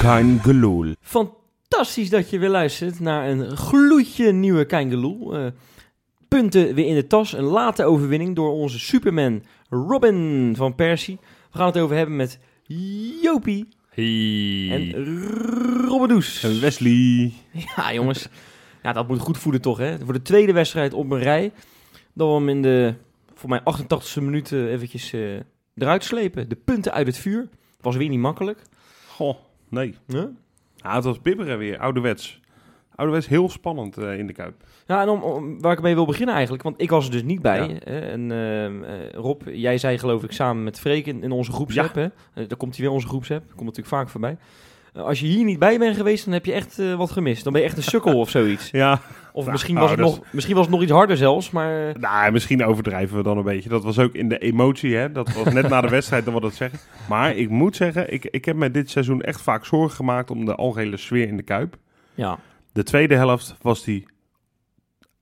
Kein Geloel. Fantastisch dat je weer luistert naar een gloedje nieuwe Keingeloel. Eh punten weer in de tas. Een late overwinning door onze Superman Robin van Persie. We gaan het over hebben met Jopie en Hey. Robbedoes. En Wesley. Ja, jongens. Ja, dat moet goed voelen toch, hè? Voor de tweede wedstrijd op een rij. Dan we hem in de, voor mij, 88e minuut eh, eventjes eh, eruit slepen. De punten uit het vuur. Was weer niet makkelijk. Goh, nee. Huh? Ah, het was bibberen weer, ouderwets. Ouderwets heel spannend eh, in de Kuip. Ja, en om, om- waar ik mee wil beginnen eigenlijk, want ik was er dus niet bij. Ja. hè, en ehm, eh, Rob, jij zei geloof ik samen met Freek in, in onze groepsapp, hè? Eh, daar komt hij weer, onze groepsapp, komt natuurlijk vaak voorbij. Eh, als je hier niet bij bent geweest, dan heb je echt eh, wat gemist. Dan ben je echt een sukkel of zoiets. Ja, Of Nou, misschien, nou, was het dat is- nog, misschien was het nog iets harder zelfs, maar... eh, nou, misschien overdrijven we dan een beetje. Dat was ook in de emotie, hè. Dat was net na de wedstrijd dan wat dat zeggen. Maar ik moet zeggen, ik, ik heb mij dit seizoen echt vaak zorgen gemaakt om de algehele sfeer in de Kuip. ja. De tweede helft was die,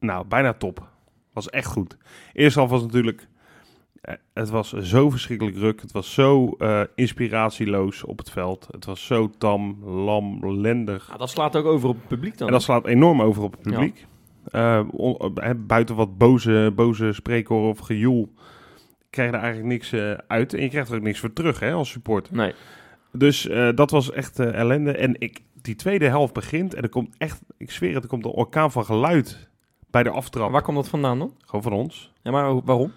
nou, bijna top. Was echt goed. Eerste helft was natuurlijk, eh, het was zo verschrikkelijk druk. Het was zo eh, inspiratieloos op het veld. Het was zo tam, lam, lendig. Ah, dat slaat ook over op het publiek dan. En dat slaat enorm over op het publiek. Eh, on- eh, buiten wat boze, boze spreekhoren of gejoel, krijg je er eigenlijk niks eh, uit. En je krijgt er ook niks voor terug hè, als supporter. Nee. Dus eh, dat was echt eh, ellende. En ik, die tweede helft begint en er komt echt, ik zweer het, er komt een orkaan van geluid bij de aftrap. Waar kwam dat vandaan dan? Gewoon van ons. Ja, maar ho- waarom?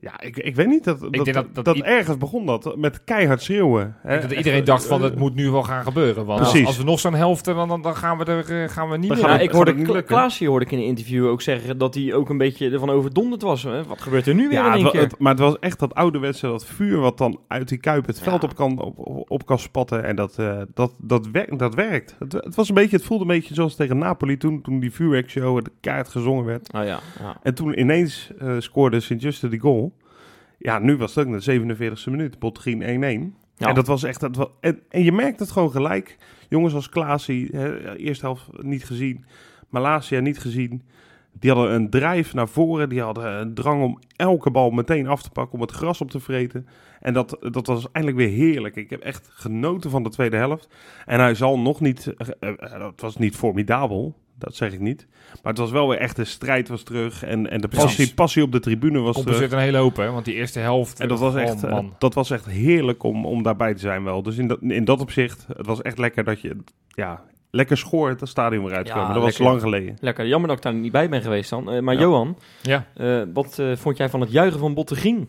Ja, ik, ik weet niet, dat, dat, denk dat, dat- dat i- ergens begon dat, met keihard schreeuwen. hè. Dat Echt, iedereen dacht eh, van het moet nu wel gaan gebeuren. Want Precies. als we nog zo'n helft hebben, dan, dan gaan we er eh, gaan we niet Dan meer. gaan Ja, het- ik gaat hoorde het niet Kla- lukken? Klaasje hoorde ik in een interview ook zeggen dat hij ook een beetje ervan overdonderd was. Hè? Wat gebeurt er nu weer in Ja, één het, wa- keer? het- maar het was echt dat ouderwetse, dat vuur wat dan uit die kuip het Ja. veld op kan, op, op, op kan spatten. En dat, eh, dat, dat, werkt, dat werkt. Het, het, was een beetje, het voelde een beetje zoals tegen Napoli toen, toen die vuurwerkshow en de kaart gezongen werd. Oh ja, ja. En toen ineens eh, scoorde Sint-Juste die goal. Ja, nu was het ook de 47e minuut. Botgrien 1-1. Ja. En dat was echt... Dat wa- en, en je merkt het gewoon gelijk. Jongens als Klaasie, hè, eerste helft niet gezien. Malasia niet gezien. Die hadden een drijf naar voren. Die hadden een drang om elke bal meteen af te pakken. Om het gras op te vreten. En dat, dat was eindelijk weer heerlijk. Ik heb echt genoten van de tweede helft. En hij zal nog niet... eh, eh, eh, het was niet formidabel. Dat zeg ik niet. Maar het was wel weer echt de strijd was terug. En, en de Precies. passie, passie op de tribune was terug. compenseert een hele hoop, hè? Want die eerste helft. En dat was, eh, echt, oh, eh, man. dat was echt heerlijk om, om daarbij te zijn wel. Dus in dat, in dat opzicht, het was echt lekker dat je ja, lekker schoor het stadion weer uitkwam. Ja, dat lekker. was lang geleden. Lekker, jammer dat ik daar niet bij ben geweest dan. Eh, maar Ja. Johan, Ja. eh, wat eh, vond jij van het juichen van Bottegien?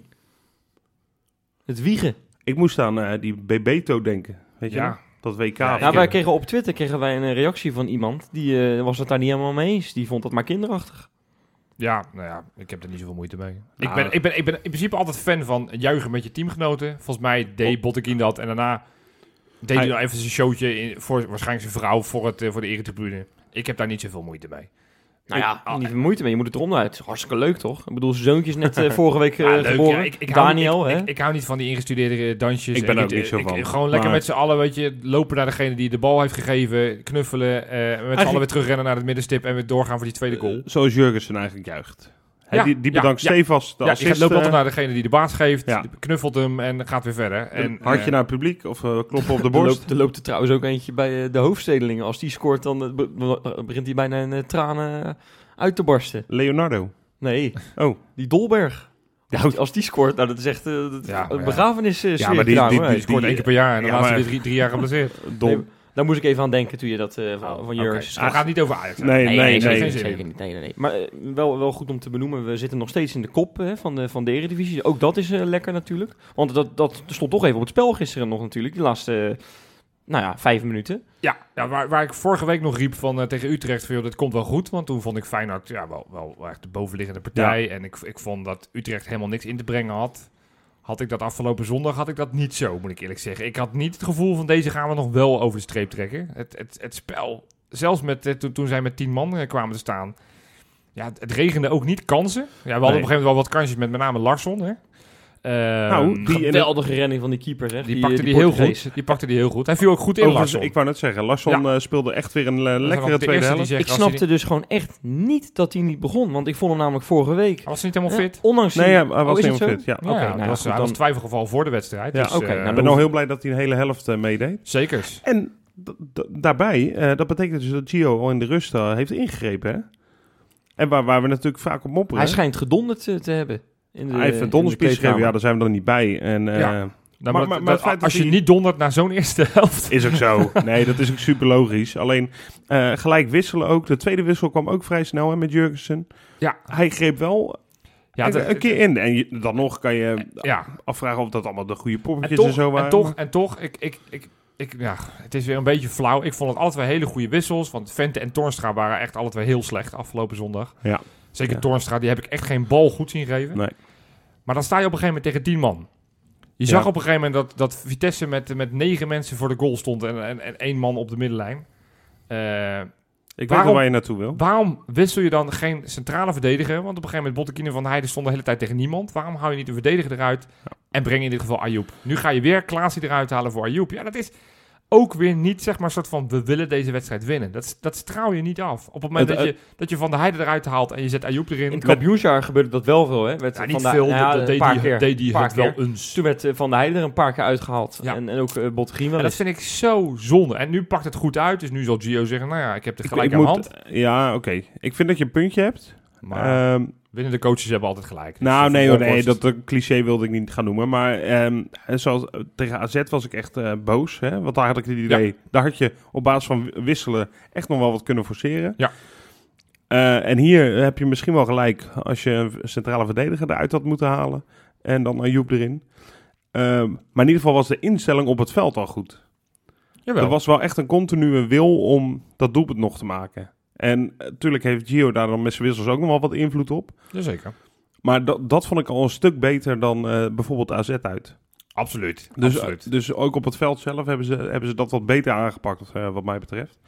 Het wiegen. Ik moest aan eh, die Bebeto denken, weet je Ja. nog? Dat WK. Ja, Nou, ik wij heb- kregen op Twitter kregen wij een eh, reactie van iemand. Die eh, was het daar niet helemaal mee eens. Die vond dat maar kinderachtig. Ja, nou ja, ik heb er niet zoveel moeite mee. Nou, ik, ben, ik, ben, ik ben in principe altijd fan van juichen met je teamgenoten. Volgens mij deed Bottekin dat en daarna deed hij Hij- nog even zijn showtje in, voor waarschijnlijk zijn vrouw voor, het, eh, voor de eretribune. Ik heb daar niet zoveel moeite mee. Nou Ik- ja, ah, niet veel moeite mee. Je moet het eronder uit. Hartstikke leuk toch? Ik bedoel, zijn zoontje is net eh, vorige week eh, Ja, leuk, geboren. ja. Ik- ik hou- Daniel, hè? Ik, ik hou niet van die ingestudeerde eh, dansjes. Ik ben En ook niet zo ik- van. gewoon lekker Maar- met z'n allen, weet je, lopen naar degene die de bal heeft gegeven, knuffelen, eh, met z'n Eigenlijk- allen weer terugrennen naar het middenstip en weer doorgaan voor die tweede goal. Eh, Zoals Jurgensen eigenlijk juicht. Hè, Ja, die, die ja, bedankt ja. stevast de ja, je assist. loopt altijd eh, naar degene die de baas geeft, ja. knuffelt hem en gaat weer verder. En, een hartje eh, naar het publiek of eh, kloppen op de Er borst. loopt, er loopt er trouwens ook eentje bij eh, de hoofdstedelingen. Als die scoort, dan eh, be- be- begint hij bijna in eh, tranen uit te barsten. Leonardo. Nee, Oh. die Dolberg. Als, die, als die scoort, nou, dat is echt eh, dat- Ja, maar een ja. begrafenis eh, Ja, sfeertje maar die- daar, die- hoor. die- Die scoort één keer per jaar en dan Ja, laatste maar- weer drie, drie jaar geblesseerd. Dol. Nee, daar moest ik even aan denken toen je dat eh, van, van Jurgen Dus het gaat niet over Ajax. hè? Nee, nee, nee. zeker, geen niet, zin zeker in. niet. Nee, nee, nee. Maar eh, wel, wel goed om te benoemen, we zitten nog steeds in de kop hè, van, de, van de Eredivisie. Ook dat is eh, lekker natuurlijk. Want dat, dat stond toch even op het spel gisteren nog natuurlijk, die laatste eh, nou ja, vijf minuten. Ja, ja waar, waar ik vorige week nog riep van, eh, tegen Utrecht, van, joh, dit komt wel goed. Want toen vond ik Feyenoord ja, wel, wel echt de bovenliggende partij. En ik, ik vond dat Utrecht helemaal niks in te brengen had. Had ik dat afgelopen zondag, had ik dat niet zo, moet ik eerlijk zeggen. Ik had niet het gevoel van deze gaan we nog wel over de streep trekken. Het, het, het spel, zelfs met, eh, toen, toen zij met tien man eh, kwamen te staan. Ja, het, het regende ook niet kansen. Ja, we hadden op een gegeven moment wel wat kansjes met met name Larsson. Hè. Eh, Nou, die en Geweldige renning van die keeper, zeg. Die, pakte die, heel Portugees. goed. Die pakte die heel goed. Hij viel ook goed in, Overigens, Larsson. ik wou net zeggen, Larsson eh, speelde echt weer een eh, Dat was lekkere de tweede eerste helft. die zegt, Ik als hij snapte dus gewoon echt niet dat hij niet begon, want ik vond hem namelijk vorige week... niet- Was hij niet helemaal Ja, fit? ondanks Nee, die- ja, hij Oh, was is het helemaal zo? fit. Ja, Ja, oké. ja, nou dat ja, was, goed, hij was dan- twijfelgeval voor de wedstrijd. Ja, dus, oké, eh, nou, Ik dan ben al hoef- heel blij dat hij een hele helft eh, meedeed. Zekers. En d- d- daarbij, eh, dat betekent dus dat Gio al in de rust eh, heeft ingegrepen. Hè? En waar, waar we natuurlijk vaak op mopperen. Hij schijnt gedonderd eh, te hebben. In de, Hij heeft een in de donderspies gegeven, kleedkamer. ja, daar zijn we dan niet bij. En eh, Ja. Nou, Maar- maar, maar- dat- maar dat- het feit dat als je hij- niet dondert na zo'n eerste helft. is ook zo. nee, dat is ook super logisch. Alleen eh, gelijk wisselen ook. De tweede wissel kwam ook vrij snel hè, met Jurgensen. Ja. Hij greep wel Ja, een, dat- een keer in. En je- dan nog kan je ja. afvragen of dat allemaal de goede En poppetjes en, toch, zo waren. en toch, en toch ik, ik, ik, ik, ja, het is weer een beetje flauw. Ik vond het alle twee hele goede wissels. Want Vente en Tornstra waren echt alle twee heel slecht afgelopen zondag. Ja. Zeker Ja. Tornstra, die heb ik echt geen bal goed zien geven. Nee. Maar dan sta je op een gegeven moment tegen tien man. Ja. Je zag op een gegeven moment dat, dat Vitesse met, met negen mensen voor de goal stond en, en, en één man op de middenlijn. Eh, Ik weet Waarom- wel waar je naartoe wil. waarom wissel je dan geen centrale verdediger? Want op een gegeven moment Bottekine van Heijden stond de hele tijd tegen niemand. Waarom hou je niet de verdediger eruit en breng in dit geval Ayoub? Nu ga je weer Klaasie eruit halen voor Ayoub. Ja, dat is ook weer niet zeg maar een soort van we willen deze wedstrijd winnen. Dat, dat straal je niet af. Op het moment Het- dat, je, dat je van de Heijden eruit haalt en je zet Ayoub erin. eh, In het kampioensjaar gebeurde dat wel veel, hè? Werd Ja, Van niet der- veel, nou ja, dat een deed paar die- keer. deed die Paar het wel keer. eens. Toen werd eh, Van der Heijden er een paar keer uitgehaald. Ja. En, en ook uh, Botgrien wel En dat eens. vind ik zo zonde. En nu pakt het goed uit. Dus nu zal Gio zeggen, nou ja, ik heb er Ik- gelijk ik aan de moet- hand. Ja, oké. Ik vind dat je een puntje hebt. eh, Maar Ehm, winnende coaches hebben altijd gelijk. Dus nou, dat nee, is hoor, een nee, oplossing. dat eh, cliché wilde ik niet gaan noemen. Maar ehm, zoals, eh, tegen AZ was ik echt eh, boos. Hè? Want daar had ik het idee, daar had je op basis van wi- wisselen echt nog wel wat kunnen forceren. Ja. Eh, en hier heb je misschien wel gelijk als je een centrale verdediger eruit had moeten halen. En dan Ayoub erin. Ehm, maar in ieder geval was de instelling op het veld al goed. Jawel. Er was wel echt een continue wil om dat doelpunt nog te maken. En natuurlijk heeft Gio daar dan met zijn wissels ook nog wel wat invloed op. Jazeker. Maar dat, dat vond ik al een stuk beter dan eh, bijvoorbeeld AZ uit. Absoluut. Dus, Absoluut. dus ook op het veld zelf hebben ze, hebben ze dat wat beter aangepakt, eh, wat mij betreft.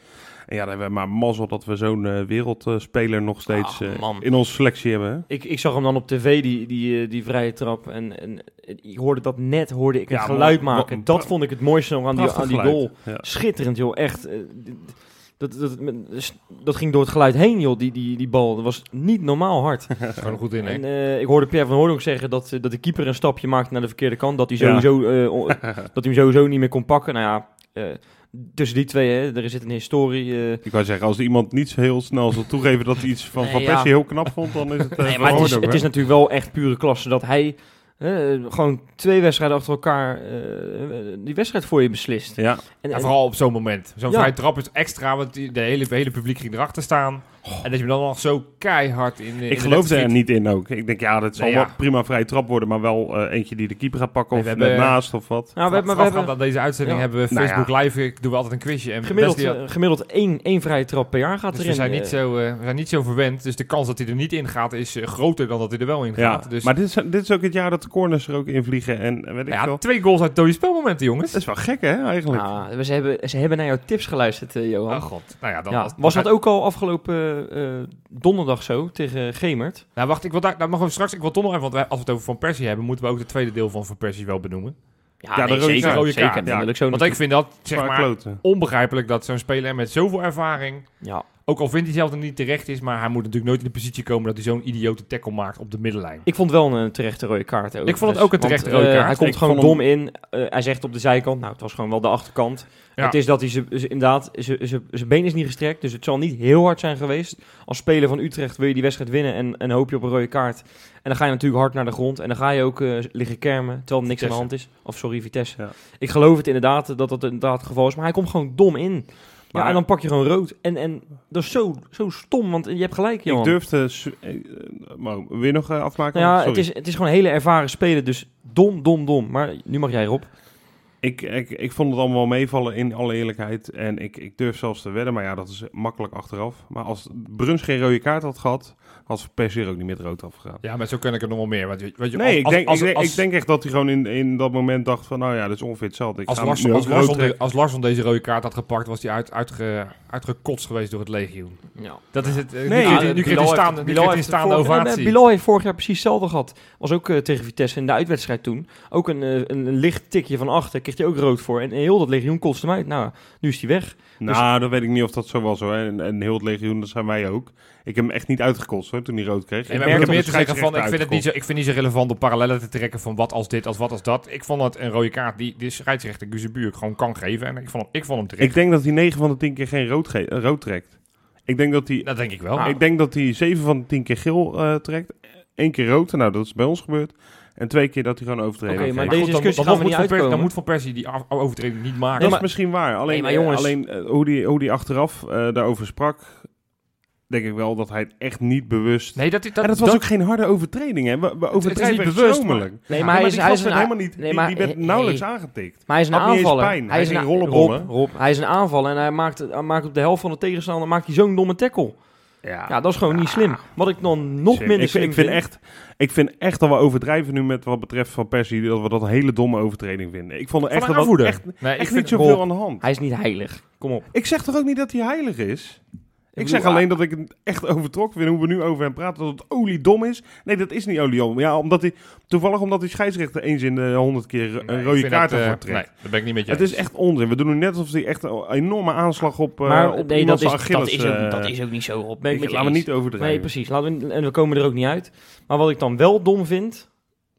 En ja, dan hebben we maar mazzel dat we zo'n eh, wereldspeler nog steeds Ach, eh, Ah, man. in onze selectie hebben. hè? Ik, ik zag hem dan op tv, die, die, eh, die vrije trap. En, en ik hoorde dat net, hoorde ik een Ja, geluid man, maken. wat- Dat vond ik het mooiste nog aan die, Prachtig aan die geluid. goal. Ja. Schitterend, joh. Echt. eh, d- Dat, dat, dat ging door het geluid heen, joh, die, die, die bal. Dat was niet normaal hard. Gewoon goed in, hè? En eh, ik hoorde Pierre van Hoornhoek zeggen dat, eh, dat de keeper een stapje maakt naar de verkeerde kant. Dat hij, Ja. sowieso, eh, on- dat hij hem sowieso niet meer kon pakken. Nou ja, eh, tussen die twee, hè, er zit een historie. eh. Ik wou zeggen, als iemand niet zo heel snel zal toegeven dat hij iets van Nee, Van ja. Persie heel knap vond, dan is het... eh, nee, maar het is, verhoord ook, het hè? is natuurlijk wel echt pure klasse dat hij eh, gewoon twee wedstrijden achter elkaar eh, die wedstrijd voor je beslist. Ja, En, Ja, en- vooral op zo'n moment. Zo'n Ja. vrije trap is extra, want die- de hele, hele publiek ging erachter staan. En dat je hem dan nog zo keihard in de... in Oh. Ik de geloofde net er schiet. niet in ook. Ik denk, ja, dat zal Nee, wel ja. prima vrije trap worden, maar wel eh, eentje die de keeper gaat pakken of Nee, we net hebben- naast of wat. nou, we, hebben- we hebben Voorafgaand aan deze uitzending Ja. hebben we Nou ja. Facebook Live. Ik doe altijd een quizje. En gemiddeld, Wesley had- eh, gemiddeld één, één vrije trap per jaar gaat dus erin. we zijn, eh. niet zo, eh, we zijn niet zo verwend. Dus de kans dat hij er niet in gaat is eh, groter dan dat hij er wel in Ja, gaat. Dus, maar dit is, dit is ook het jaar dat de corners er ook in vliegen en eh, weet ik Nou ja, Nou, veel. twee goals uit dode spelmomenten, jongens. Dat is wel gek, hè, eigenlijk. Ah, we- ze, hebben, ze hebben naar jouw tips geluisterd, eh, Johan. Oh god. Nou ja, dan Ja, als- was dan- dat ook al afgelopen eh, eh, donderdag zo tegen Gemert? Nou, wacht, ik wil daar, daar mogen we straks. Ik wil toch nog even, want wij- als we het over Van Persie hebben, moeten we ook het tweede deel van Van Persie wel benoemen. Ja, de rode- zeker, de rode zeker. kaart, Dat ja. wil ik zo Want ik natuurlijk- vind dat, zeg Zwaar maar, kloten. onbegrijpelijk dat zo'n speler met zoveel ervaring, ja. ook al vindt hij zelf er niet terecht is, maar hij moet natuurlijk nooit in de positie komen dat hij zo'n idiote tackle maakt op de middenlijn. ik vond wel een eh, terechte rode kaart. Ook. Ik vond het ook een terechte want, eh, rode kaart. Hij komt Ik gewoon vond hem- dom in. Eh, hij zegt op de zijkant, nou, het was gewoon wel de achterkant. Ja. Het is dat hij ze, ze- inderdaad, ze- ze- zijn been is niet gestrekt, dus het zal niet heel hard zijn geweest. Als speler van Utrecht wil je die wedstrijd winnen en, en hoop je op een rode kaart. En dan ga je natuurlijk hard naar de grond en dan ga je ook eh, liggen kermen, terwijl er niks aan de hand is. Of sorry, Vitesse. Ja. Ik geloof het inderdaad dat dat inderdaad het geval is, maar hij komt gewoon dom in. Maar- ja, en dan pak je gewoon rood. En, en dat is zo, zo stom, want je hebt gelijk, Johan. Ik durfde... su- eh, eh, Maar wil je nog eh, afmaken? Nou ja, Sorry. het is, het is gewoon een hele ervaren speler, dus dom, dom, dom. Maar nu mag jij erop. Ik, ik, ik vond het allemaal wel meevallen in alle eerlijkheid. En ik, ik durf zelfs te wedden, maar ja, dat is makkelijk achteraf. Maar als Bruns geen rode kaart had gehad, had Van Persie er ook niet met rood afgegaan. Ja, maar zo kan ik er nog wel meer. Want, je- want je- Nee, ik als- denk, als- ik, denk, als- ik denk echt dat hij gewoon in, in dat moment dacht van, nou ja, dat is ongeveer hetzelfde. Ik Als ga hem nu Larsson, als, ook rood Larsson de- trekken. als Larsson deze rode kaart had gepakt, was hij uit, uitge, uitgekotst geweest door het legioen. Ja. Dat is het. eh, Nee, nu kreeg hij- eh, nu kreeg Bilal hij heeft- staande, nu Bilal kreeg hij heeft staande vorig- nee, ovatie. nee, Bilal heeft vorig jaar precies hetzelfde gehad. Was ook eh, tegen Vitesse in de uitwedstrijd toen. Ook een, eh, een, een licht tikje van achter. Kreeg kreeg hij ook rood voor. En heel dat legioen kostte hem uit. Nou, nu is hij weg. Dus- Nou, dat weet ik niet of dat zo was hoor. En, en heel het legioen, dat zijn wij ook. Ik heb hem echt niet uitgekost hoor, toen hij rood kreeg. En Ik wij heb proberen hem te zeggen van, ik scheidsrechter vind, het niet zo, ik vind niet zo relevant om parallellen te trekken van wat als dit, als wat als dat. Ik vond dat een rode kaart die de scheidsrechter Guzebuur gewoon kan geven. En ik vond, hem- ik vond hem terecht. Ik denk dat hij 9 van de 10 keer geen rood, ge- eh, rood trekt. Ik denk dat hij, Ah. dat denk ik wel. ik denk dat hij 7 van de 10 keer geel eh, trekt. Eén keer rood, nou dat is bij ons gebeurd. En twee keer dat hij gewoon overtreden Oké, heeft. maar Maar deze goed, dan- discussie dan, gaan we moet niet Van Persie- uitkomen. Dan moet Van Persie die af- overtreding niet maken. Dat maar- is misschien waar. Alleen, Nee, maar eh, jongens- alleen eh, hoe hij hoe die achteraf eh, daarover sprak, denk ik wel dat hij het echt niet bewust... nee, dat, dat, en dat was ook geen harde overtreding, hè? We, we het overtreden is niet echt bewust, zomaar. Ja, Ja, Nee, maar maar, is- die hij gast is werd een a- helemaal niet... nee, die- maar- die, werd hey. nauwelijks aangetikt. Maar hij is een Had niet eens aanvaller. pijn. Hij Hij is een ging a- rollenbollen. Rob, Rob, hij is een aanvaller en hij maakt, hij maakt op de helft van de tegenstander maakt hij zo'n domme tackle. Ja, dat is gewoon niet slim. Wat ik dan nog Sim, minder ik, slim ik vind. Echt, ik vind echt dat we overdrijven nu met wat betreft Van Persie, dat we dat een hele domme overtreding vinden. Ik vond er echt, een dat aanvoerder. was echt, Nee, ik echt vind niet zoveel Rob, aan de hand. Hij is niet heilig. Kom op. Ik zeg toch ook niet dat hij heilig is? Ik bedoel, ah. zeg alleen dat ik het echt overtrokken vind hoe we nu over hem praten. Dat het oliedom is. Nee, dat is niet oliedom. Ja, omdat hij, toevallig omdat die scheidsrechter eens in de honderd keer Nee, een ik rode vind kaart dat, eh, ervoor trekt. Nee, dat ben ik niet met je het is echt onzin. We doen nu net alsof hij echt een enorme aanslag op, eh maar op nee, iemand dat zijn is, dat, Achilles... is eh, ook, dat is ook niet zo, Rob. Ben ik ik- met je Laten we eens. niet overdrijven. Nee, precies. Laten we, en we komen er ook niet uit. Maar wat ik dan wel dom vind,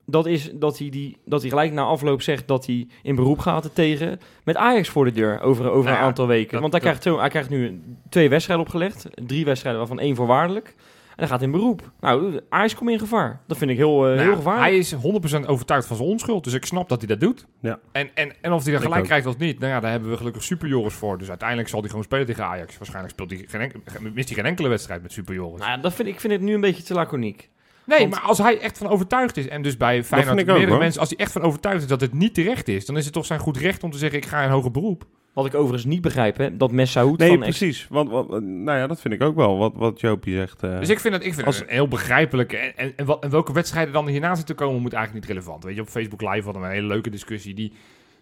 dat is dat hij, die, dat hij gelijk na afloop zegt dat hij in beroep gaat er tegen met Ajax voor de deur over, over Nou ja, een aantal weken. dat- Want hij, dat- krijgt zo, hij krijgt nu twee wedstrijden opgelegd, drie wedstrijden waarvan één voorwaardelijk. En hij gaat in beroep. Nou, Ajax komt in gevaar. Dat vind ik heel, eh, Nou, heel gevaarlijk. Hij is 100% overtuigd van zijn onschuld, dus ik snap dat hij dat doet. Ja. En, en, en of hij dat Ik gelijk ook. krijgt of niet, nou ja, daar hebben we gelukkig superjoris voor. Dus uiteindelijk zal hij gewoon spelen tegen Ajax. Waarschijnlijk speelt hij geen enkel- mist hij geen enkele wedstrijd met superjoris. Nou, ja, dat vind, ik- ik vind het nu een beetje te laconiek. nee, want- maar als hij echt van overtuigd is, en dus bij vind Feyenoord ik ook, meerdere hoor. mensen, als hij echt van overtuigd is dat het niet terecht is, dan is het toch zijn goed recht om te zeggen, ik ga in hoger beroep. Wat ik overigens niet begrijp, hè, dat Messaoud Nee, van precies. Want, want- nou ja, dat vind ik ook wel, wat, wat Joopie zegt. eh. Dus ik vind dat ik vind Als- het heel begrijpelijk. En, en, en, wat- en welke wedstrijden dan hierna zitten komen, moet eigenlijk niet relevant. Weet je, op Facebook Live hadden we een hele leuke discussie die,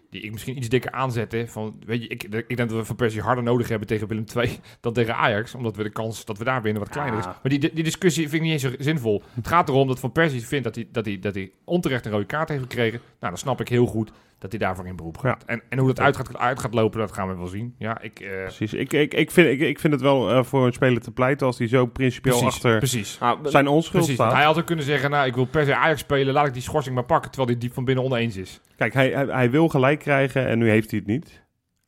die ik misschien iets dikker aanzette. Van, weet je, ik, ik denk dat we Van Persie harder nodig hebben tegen Willem II dan tegen Ajax. Omdat we de kans dat we daar winnen wat kleiner is. Ja. Maar die, die discussie vind ik niet eens zo zinvol. Het gaat erom dat Van Persie vindt dat hij, dat, hij, dat hij onterecht een rode kaart heeft gekregen. Nou, dan snap ik heel goed dat hij daarvoor in beroep gaat. En, en hoe dat uit gaat, uit gaat lopen, dat gaan we wel zien. Ja, ik... eh, Precies. Ik, ik, ik, vind, ik, ik vind het wel eh, voor een speler te pleiten als hij zo principieel precies, achter precies. Nou, zijn onschuld Precies, want staat. hij had ook kunnen zeggen, nou, ik wil per se Ajax spelen, laat ik die schorsing maar pakken, terwijl hij diep van binnen oneens is. Kijk, hij, hij, hij wil gelijk krijgen en nu heeft hij het niet.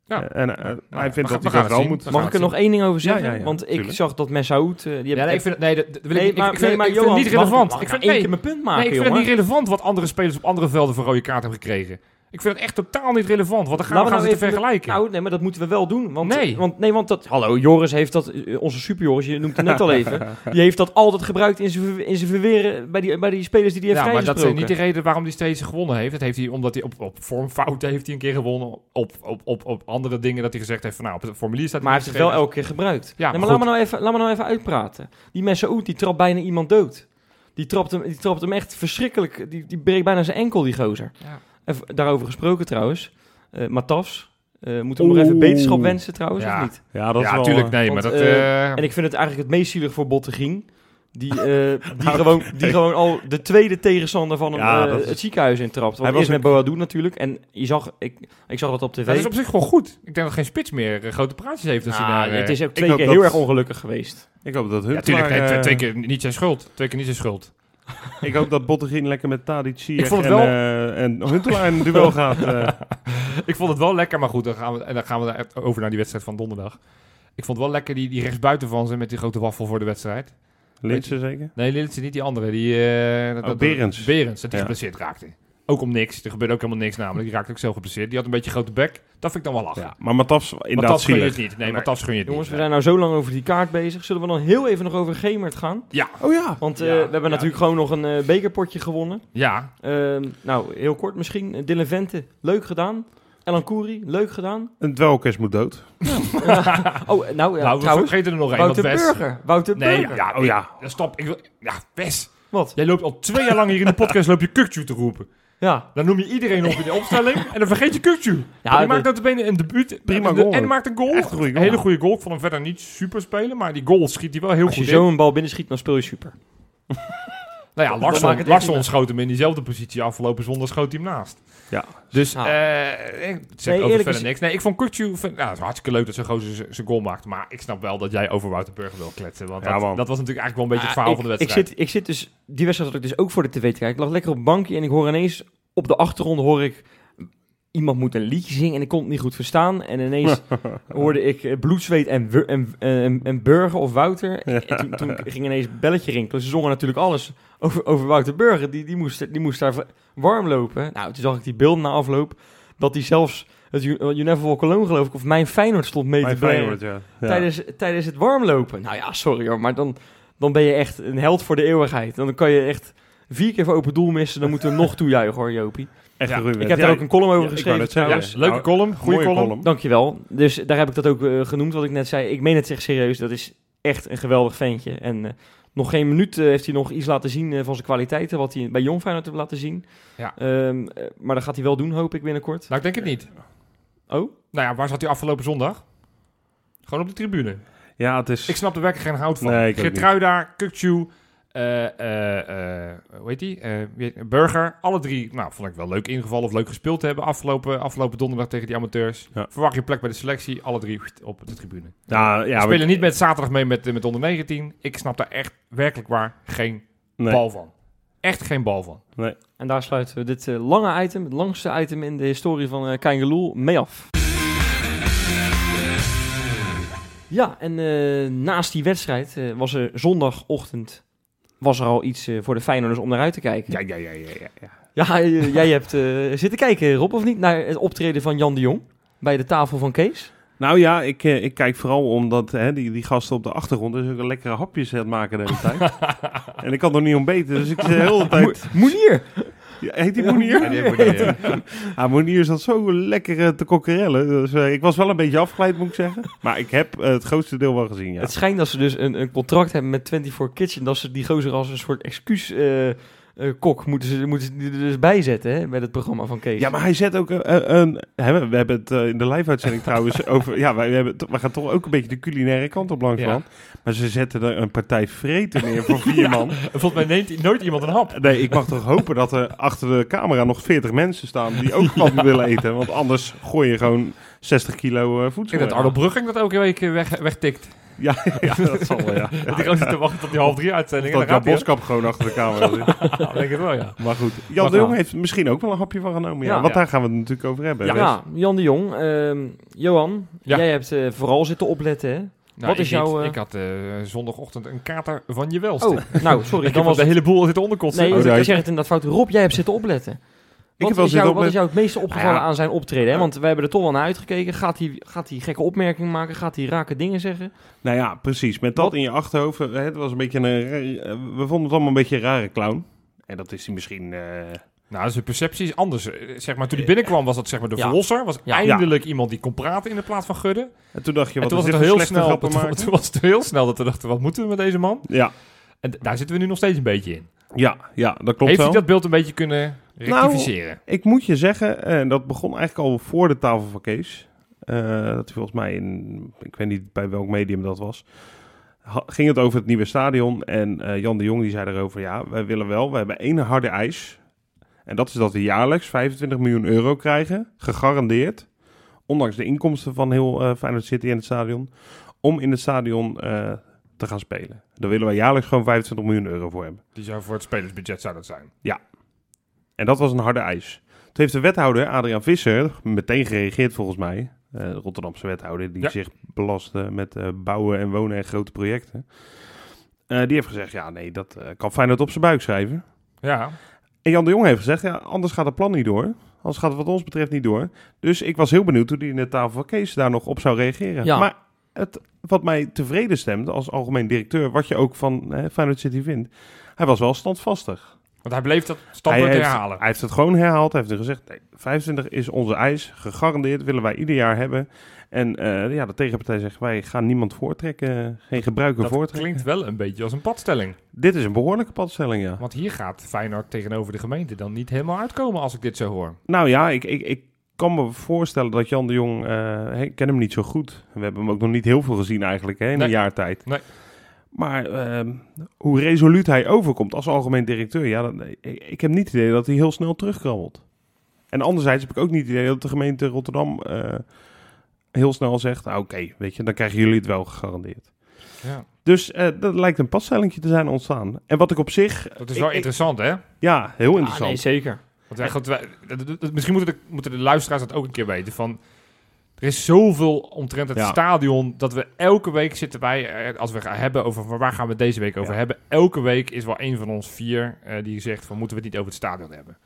Ja. Eh, En eh, Nou ja, hij vindt we gaan- dat we hij dat gaan het wel zien. moet. We gaan Mag het ik er zien. nog één ding over zeggen? ja, ja, Want ik tuurlijk. zag dat Messaoud... eh, die Ja, heb- nee, ik vind, nee, dat, dat wil ik, Nee, niet- ik, maar- ik vind, nee, maar ik vind Johan, het niet mag- relevant. mag ik ik nou vind, één nee, keer mijn punt nee, maken, ik vind het jongen? niet relevant wat andere spelers op andere velden voor rode kaart hebben gekregen. Ik vind het echt totaal niet relevant, want dan gaan Laten we gaan we ze te nou even- vergelijken. Nou, nee, maar dat moeten we wel doen. Want, Nee. Want, nee, want dat... Hallo, Joris heeft dat... eh, Onze superjoris, je noemt hem net al even. Die heeft dat altijd gebruikt in zijn, ver- in zijn verweren bij die, bij die spelers die hij heeft ja, maar dat is vrijgesproken. niet de reden waarom hij steeds gewonnen heeft. Dat heeft hij omdat hij op, op vormfouten heeft hij een keer gewonnen. Op, op, op, op andere dingen dat hij gezegd heeft van nou, op het formulier staat Maar hij niet heeft het wel geschreven. elke keer gebruikt. Ja, nee, maar maar laat me, nou even, laat me nou even uitpraten. Die Messaoud, die trapt bijna iemand dood. Die trapt hem, die trapt hem echt verschrikkelijk. Die, die breekt bijna zijn enkel, die gozer. Ja. En v- daarover gesproken trouwens. eh Matas, eh, moeten we hem nog even Oeh. beterschap wensen trouwens, Ja. of niet? Ja, dat is Ja, wel... natuurlijk, nee, want, maar dat... eh, eh, En ik vind het eigenlijk het meest zielig voor Bottegien. Die, eh, die, gewoon, die gewoon al de tweede tegenstander van hem Ja, eh, dat is- het ziekenhuis intrapt. Want Hij hij was was met ook- Boadou natuurlijk. En je zag, ik, ik zag dat op tv. dat is op zich gewoon goed. Ik denk dat geen spits meer eh, grote praatjes heeft. Als Ah, hij daar, eh, het is ook ik twee hoop keer dat- heel erg ongelukkig geweest. eh, Ik hoop dat hun Ja, tuurlijk. Nee, twee, twee eh, keer niet zijn schuld. Twee keer niet zijn schuld. Ik hoop dat Bottegien lekker met Tadic, Ziyech Ik vond en, het wel- eh, en Huntelaar in een duel gaat. eh. Ik vond het wel lekker, maar goed, dan gaan we, en dan gaan we daar echt over naar die wedstrijd van donderdag. Ik vond het wel lekker die, die rechtsbuiten van ze met die grote waffel voor de wedstrijd. Linsen zeker? Nee, Lilitsen niet die andere. Die, eh, dat- Oh, dat- Berends. Berends, dat die Ja. geblesseerd raakte. Ook om niks. Er gebeurde ook helemaal niks namelijk. Die raakte ook zo geblesseerd. Die had een beetje grote bek. Dat vind ik dan wel lachen. Ja, maar Matafs Maar inderdaad dat gun je het zielig. niet. Nee, maar dat gun je het Jongens, we niet. zijn nou zo lang over die kaart bezig. Zullen we dan heel even nog over Gemert gaan? Ja, Oh ja. Want eh, Ja, we hebben ja. natuurlijk gewoon nog een eh, bekerpotje gewonnen. ja. Ehm, nou, heel kort misschien. Eh, Dylan Vente, leuk gedaan. Elan Koeri, leuk gedaan. Een dwelkers moet dood. Oh, eh, nou ja, Nou, we trouwens. vergeten er nog één. want Wouter Wes- Burger. Wouter Nee, Burger. ja, Oh ja. ja, stop. Ik wil, ja, Wes. Wat? Jij loopt al twee jaar lang hier in de podcast loop je Kukju te roepen. Ja. Dan noem je iedereen op in de opstelling en dan vergeet je Kukju. Ja, die dat- maakt notabene een debuut Prima en de- goal. en maakt een goal. Echt een goede goal. hele goede goal. Ik vond hem verder niet super spelen, maar die goal schiet hij wel heel Als je goed zo in. een bal binnenschiet, dan speel je super. Nou ja, Dan maakt Larsson, het echt Larsson niet uit. schoot hem in diezelfde positie afgelopen zondag, schoot hij hem naast. Ja. Dus Ah. eh, ik zeg Nee, over eerlijk verder is- niks. Nee, ik vond Kutju, vind- nou, het is hartstikke leuk dat zijn gozer z- zijn goal maakt. Maar ik snap wel dat jij over Wouter Burger wil kletsen. Want Ja, dat, man. dat was natuurlijk eigenlijk wel een beetje het verhaal Ah, van de ik- wedstrijd. Ik zit, ik zit dus, die wedstrijd zat ik dus ook voor de tv te kijken. Ik lag lekker op het bankje en ik hoor ineens op de achtergrond hoor ik iemand moet een liedje zingen en ik kon het niet goed verstaan. En ineens hoorde ik eh, bloed, zweet en, Wur- en, en, en Burger of Wouter. En toen, toen ging ineens een belletje rinkelen. Ze zongen natuurlijk alles over, over Wouter Burger. Die, die, moest, die moest daar warm lopen. Nou, toen zag ik die beelden na afloop dat hij zelfs het You, You Never Walk Alone geloof ik of Mijn Feyenoord stond mee Mijn te brengen Feyenoord, ja. Ja. tijdens, tijdens het warmlopen. Nou ja, sorry hoor, maar dan, dan ben je echt een held voor de eeuwigheid. Dan kan je echt vier keer voor open doel missen. Dan moeten we nog toejuichen hoor, Jopie. Echt Ja, een ruwe Ik heb wedstrijd. daar ook een column Ja, over ik wou geschreven net zeggen, trouwens. ja. Leuke Nou, column, goede mooie column. Dankjewel. Dus daar heb ik dat ook eh, genoemd, wat ik net zei. Ik meen het echt serieus. Dat is echt een geweldig ventje. En eh, nog geen minuut eh, heeft hij nog iets laten zien eh, van zijn kwaliteiten. Wat hij bij Jong Feyenoord heeft laten zien. Ja. Ehm, eh, maar dat gaat hij wel doen, hoop ik, binnenkort. Nou, ik denk het niet. Oh? Nou ja, waar zat hij afgelopen zondag? Gewoon op de tribune. Ja, het is... Ik snap er werkelijk geen hout van. Nee, ik ook Gertruida, Kukcu, eh, eh, eh, hoe heet die? Eh, wie heet- Burger. Alle drie, nou, vond ik wel leuk ingevallen of leuk gespeeld te hebben afgelopen, afgelopen donderdag tegen die amateurs. Ja. Verwacht je plek bij de selectie. Alle drie pst, op de tribune. Nou, ja, We maar- spelen niet met zaterdag mee met, eh, met onder 19. Ik snap daar echt werkelijk waar geen nee. bal van. Echt geen bal van. En daar sluiten we dit eh, lange item, het langste item in de historie van eh Kangeloel, mee af. Ja, en eh, naast die wedstrijd eh, was er zondagochtend was er al iets eh, voor de Feyenoorders om naar uit te kijken. Ja, ja, ja, ja. ja, eh, jij hebt eh, zitten kijken, Rob, of niet, naar het optreden van Jan de Jong bij de tafel van Kees. Nou ja, ik, eh, ik kijk vooral omdat hè, die, die gasten op de achtergrond dus ook een lekkere hapjes aan het maken de hele tijd. en ik kan nog niet ontbeten, dus ik zit de hele tijd... Mo- Moenier! Ja, Heet die Moenier? die heb ik niet, eh. Ja, Monier zat zo lekker eh, te kokkerellen. Dus, eh, ik was wel een beetje afgeleid, moet ik zeggen. Maar ik heb eh, het grootste deel wel gezien, ja. Het schijnt dat ze dus een, een contract hebben met 24 Kitchen, dat ze die gozer als een soort excuus... eh, eh, kok moeten ze, moeten ze die er dus bij zetten hè, met het programma van Kees. Ja, maar hij zet ook eh, eh, een... hè, we- we hebben het eh, in de live-uitzending trouwens over... Ja, wij, we hebben, to- we gaan toch ook een beetje de culinaire kant op langs Ja. van. Maar ze zetten er een partij vreten neer voor vier man. Volgens mij neemt i- nooit iemand een hap. Nee, ik mag toch hopen dat er achter de camera nog 40 mensen staan... die ook wat willen eten. Want anders gooi je gewoon 60 kilo eh, Ik voedsel. denk dat weg. Arno Brugging dat elke week eh, weg, wegtikt. Ja, ja, dat zal wel, ja. Dat ik ook zit te wachten tot die half drie Of uitzending. dat en Jan dan gaat Boskap gewoon achter de camera zit. hij, hè? Ja, ik denk het wel, ja. Maar goed, Maar Jan de Jong ja. heeft er misschien ook wel een hapje van genomen. Ja, Ja. want Ja. daar gaan we het natuurlijk over hebben. Ja, Dus- ja, Jan de Jong. ehm, Johan, Ja. jij hebt eh, vooral zitten opletten, hè? Nou, Wat is ik niet. jouw, eh, Ik had eh, zondagochtend een kater van je welste. Oh, nou, sorry. ik Dan dan was was de hele boel zitten onderkotsen. Nee, Oh, ik daar- zeg het inderdaad fout. Rob, jij hebt zitten opletten. Wat, heb wel is, zitten jou, wat is opletten. jou het meeste opgevallen Nou ja. aan zijn optreden? Hè? Want wij hebben er toch wel naar uitgekeken. Gaat hij, gaat hij gekke opmerkingen maken? Gaat hij rake dingen zeggen? Nou ja, precies. Met dat in je achterhoofd. eh, Het was een beetje een. ra- eh, We vonden het allemaal een beetje een rare clown. En dat is hij misschien. eh, Nou, zijn perceptie is anders. Eh, Zeg maar, toen hij binnenkwam was dat zeg maar de Ja. verlosser. Was Ja. eindelijk iemand die kon praten in de plaats van Gudde. En toen dacht je, en wat toen was is dit het al voor heel slechte snel. grappen Toen, maken? toen was het heel snel dat we dachten, wat moeten we met deze man? Ja, En d- daar zitten we nu nog steeds een beetje in. ja, ja, dat klopt Heeft wel. hij dat beeld een beetje kunnen rectificeren? Ik moet je zeggen, eh, en dat begon eigenlijk al voor de tafel van Kees. eh, dat hij volgens mij in, ik weet niet bij welk medium dat was, ha- ging het over het nieuwe stadion. En eh, Jan de Jong die zei erover, ja, wij willen wel, we hebben één harde eis. En dat is dat we jaarlijks 25 miljoen euro krijgen, gegarandeerd. Ondanks de inkomsten van heel eh Feyenoord City en het stadion. Om in het stadion eh, te gaan spelen. Daar willen wij jaarlijks gewoon 25 miljoen euro voor hebben. Die zou voor het spelersbudget zou dat zijn. En dat was een harde eis. Toen heeft de wethouder, Adriaan Visser, meteen gereageerd volgens mij. Eh, de Rotterdamse wethouder die Ja. zich belastte met eh, bouwen en wonen en grote projecten. Eh, die heeft gezegd, ja nee, dat eh, kan Feyenoord op zijn buik schrijven. Ja, En Jan de Jong heeft gezegd, ja anders gaat het plan niet door. Anders gaat het wat ons betreft niet door. Dus ik was heel benieuwd hoe die in de tafel van Kees daar nog op zou reageren. Ja. Maar het, wat mij tevreden stemde als algemeen directeur, wat je ook van eh, Feyenoord City vindt. Hij was wel standvastig. want hij bleef dat standpunt Hij heeft- herhalen. Hij heeft het gewoon herhaald. Hij heeft er gezegd: nee, 25 is onze eis. Gegarandeerd willen wij ieder jaar hebben. En eh, ja, de tegenpartij zegt: wij gaan niemand voortrekken. Geen gebruiker Dat voortrekken. klinkt wel een beetje als een padstelling. Dit is een behoorlijke padstelling, ja. Want hier gaat Feyenoord tegenover de gemeente dan niet helemaal uitkomen als ik dit zo hoor. Nou ja, ik, ik, ik kan me voorstellen dat Jan de Jong. eh, hè, ik ken hem niet zo goed. We hebben hem ook nog niet heel veel gezien eigenlijk hè, in Nee. een jaar tijd. Nee. Maar ehm, hoe resoluut hij overkomt als algemeen directeur, ja, dan, eh, ik, ik heb niet het idee dat hij heel snel terugkrabbelt. En anderzijds heb ik ook niet het idee dat de gemeente Rotterdam eh, heel snel zegt: "Ah, oké, weet je, dan krijgen jullie het wel gegarandeerd. Ja. Dus eh, dat lijkt een passtelling te zijn ontstaan. En wat ik op zich, Dat Eh, is wel Ik- Eh, ik- interessant, hè? ja, heel Ah, nee, interessant. zeker. Want wij, goed, wij- dat- dat- dat- misschien moeten de, moeten de luisteraars dat ook een keer weten. Van, er is zoveel omtrent het Ja. stadion dat we elke week zitten wij, eh, als we gaan hebben over van waar gaan we het deze week over Ja. hebben. Elke week is wel een van ons vier eh, die zegt van moeten we het niet over het stadion hebben.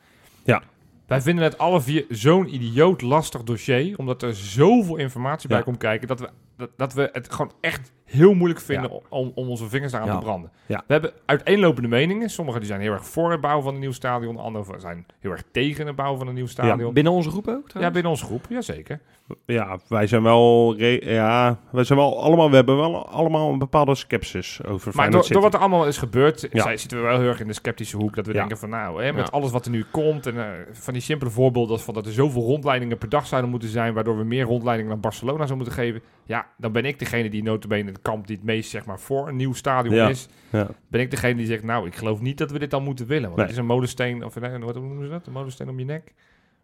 Ja. Wij vinden het alle vier zo'n idioot lastig dossier, omdat er zoveel informatie bij Ja. komt kijken, dat we, dat, dat we het gewoon echt heel moeilijk vinden om, om onze vingers daaraan Ja. te branden. Ja. We hebben uiteenlopende meningen. Sommigen die zijn heel erg voor het bouwen van een nieuw stadion. Anderen zijn heel erg tegen het bouwen van een nieuw stadion. Ja, Binnen onze groep ook? trouwens? binnen onze groep, jazeker. Ja, wij zijn wel, re- ja, wij zijn wel allemaal, we hebben wel allemaal een bepaalde sceptisch over Maar Feyenoord door, City. door wat er allemaal is gebeurd, eh, Ja. zij- zitten we wel heel erg in de sceptische hoek. Dat we Ja. denken van nou, hè, met Ja. alles wat er nu komt. En eh, van die simpele voorbeelden als van dat er zoveel rondleidingen per dag zouden moeten zijn. Waardoor we meer rondleidingen naar Barcelona zouden moeten geven. Ja, dan ben ik degene die notabene het kamp die het meest zeg maar, voor een nieuw stadion Ja. is. Ja. Ben ik degene die zegt nou, ik geloof niet dat we dit dan moeten willen. Want Nee. het is een molensteen, of nee, wat noemen ze dat? Een molensteen om je nek?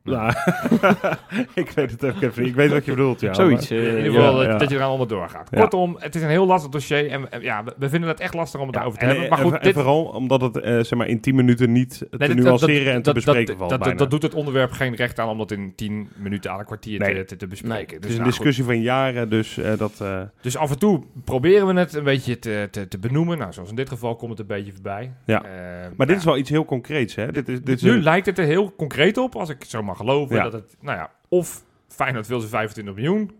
Ja. ik weet het ook even niet. Ik weet wat je bedoelt, ja. Zoiets. eh, In ieder geval Ja, dat- ja. dat je eraan allemaal doorgaat. Ja. Kortom, het is een heel lastig dossier. En en ja, we, we vinden het echt lastig om het Ja, daarover te en- hebben. Maar en- goed, en dit, vooral omdat het eh, zeg maar in 10 minuten niet te nee, dit- dat- dat- nuanceren en te dat- bespreken dat, valt dat, dat, bijna. dat doet het onderwerp geen recht aan om dat in 10 minuten aan een kwartier Nee. te, te, te bespreken. Nee, het is een nou, goed. discussie van jaren, dus eh, dat... eh, Dus af en toe proberen we het een beetje te, te, te benoemen. Nou, zoals in dit geval komt het een beetje voorbij. Ja. Eh, maar dit nou, is wel iets heel concreets, hè? Dit is, dit is nu een- lijkt het er heel concreet op, als ik het zo mag geloven, Ja. dat het, nou ja, of Feyenoord wil ze 25 miljoen,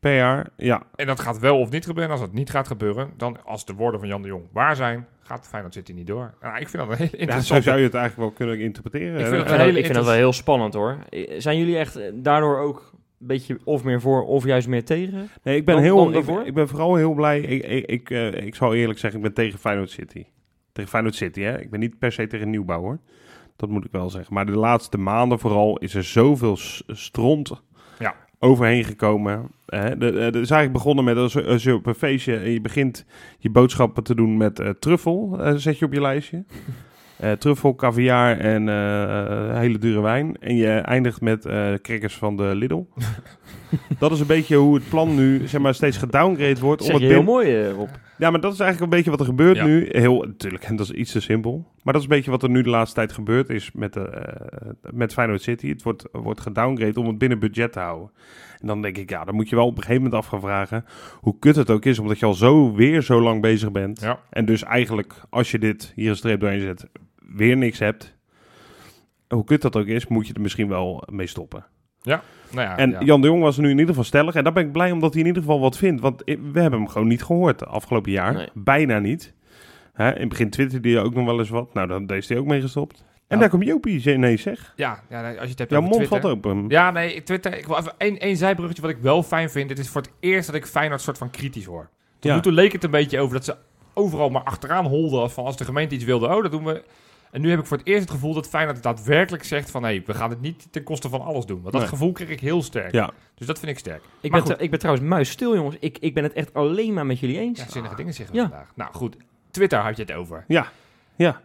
per jaar, ja. En dat gaat wel of niet gebeuren. Als dat niet gaat gebeuren, dan als de woorden van Jan de Jong waar zijn, gaat Feyenoord City niet door. Nou, ik vind dat een hele ja. Zo interessante... zou je het eigenlijk wel kunnen interpreteren. Eh, Ik hè? vind Ik een vind, dat, hele ik vind dat wel heel spannend hoor. Eh, Zijn jullie echt eh, daardoor ook een beetje of meer voor of juist meer tegen? Nee, ik ben, Dan- dan heel, ik, daarvoor? ik ben vooral heel blij. Ik, ik, ik, eh, ik zal eerlijk zeggen, ik ben tegen Feyenoord City. Tegen Feyenoord City, hè. Ik ben niet per se tegen nieuwbouw, hoor. Dat moet ik wel zeggen. Maar de laatste maanden vooral is er zoveel s- stront Ja. overheen gekomen. Hè? De, de, het is eigenlijk begonnen met als, als je op een feestje... en je begint je boodschappen te doen met eh, truffel, eh, zet je op je lijstje. Eh, truffel, caviar en eh, hele dure wijn. En je eindigt met eh crackers van de Lidl. dat is een beetje hoe het plan nu zeg maar, steeds gedowngrade wordt. Zeg je het heel binnen- mooi eh, Rob. ja, maar dat is eigenlijk een beetje wat er gebeurt Ja. nu. Heel, natuurlijk, en dat is iets te simpel. Maar dat is een beetje wat er nu de laatste tijd gebeurd is met, de, eh, met Feyenoord City. Het wordt, wordt gedowngrade om het binnen budget te houden. En dan denk ik, ja, dan moet je wel op een gegeven moment af gaan vragen... hoe kut het ook is, omdat je al zo weer zo lang bezig bent. Ja. En dus eigenlijk, als je dit hier een streep doorheen zet, weer niks hebt... hoe kut dat ook is, moet je er misschien wel mee stoppen. Nou ja, En ja. Jan de Jong was er nu in ieder geval stellig. En daar ben ik blij omdat hij in ieder geval wat vindt. Want i- we hebben hem gewoon niet gehoord de afgelopen jaar. Nee. Bijna niet. Hè, in het begin twitterde hij ook nog wel eens wat. Nou, dan is hij ook mee gestopt. En Ja. daar komt Jopie ze- ineens, zeg. ja, ja, nee, als je het hebt Jouw over mond Twitter. valt open. Ja, nee, Twitter. Ik wil even één, één zijbruggetje wat ik wel fijn vind. Het is voor het eerst dat ik Feyenoord soort van kritisch hoor. Tot Ja. nu toe leek het een beetje over dat ze overal maar achteraan holden. als Van als de gemeente iets wilde, oh, dat doen we. En nu heb ik voor het eerst het gevoel dat Feyenoord daadwerkelijk zegt van... hé, hey, we gaan het niet ten koste van alles doen. Want dat Nee. gevoel kreeg ik heel sterk. Ja. Dus dat vind ik Ik sterk. ben, Maar goed. tr- ik ben trouwens muisstil jongens. Ik, ik ben het echt alleen maar met jullie eens. Ja, zinnige dingen zeggen we Ja. vandaag. Nou goed, Twitter had je het over. Ja. Ja.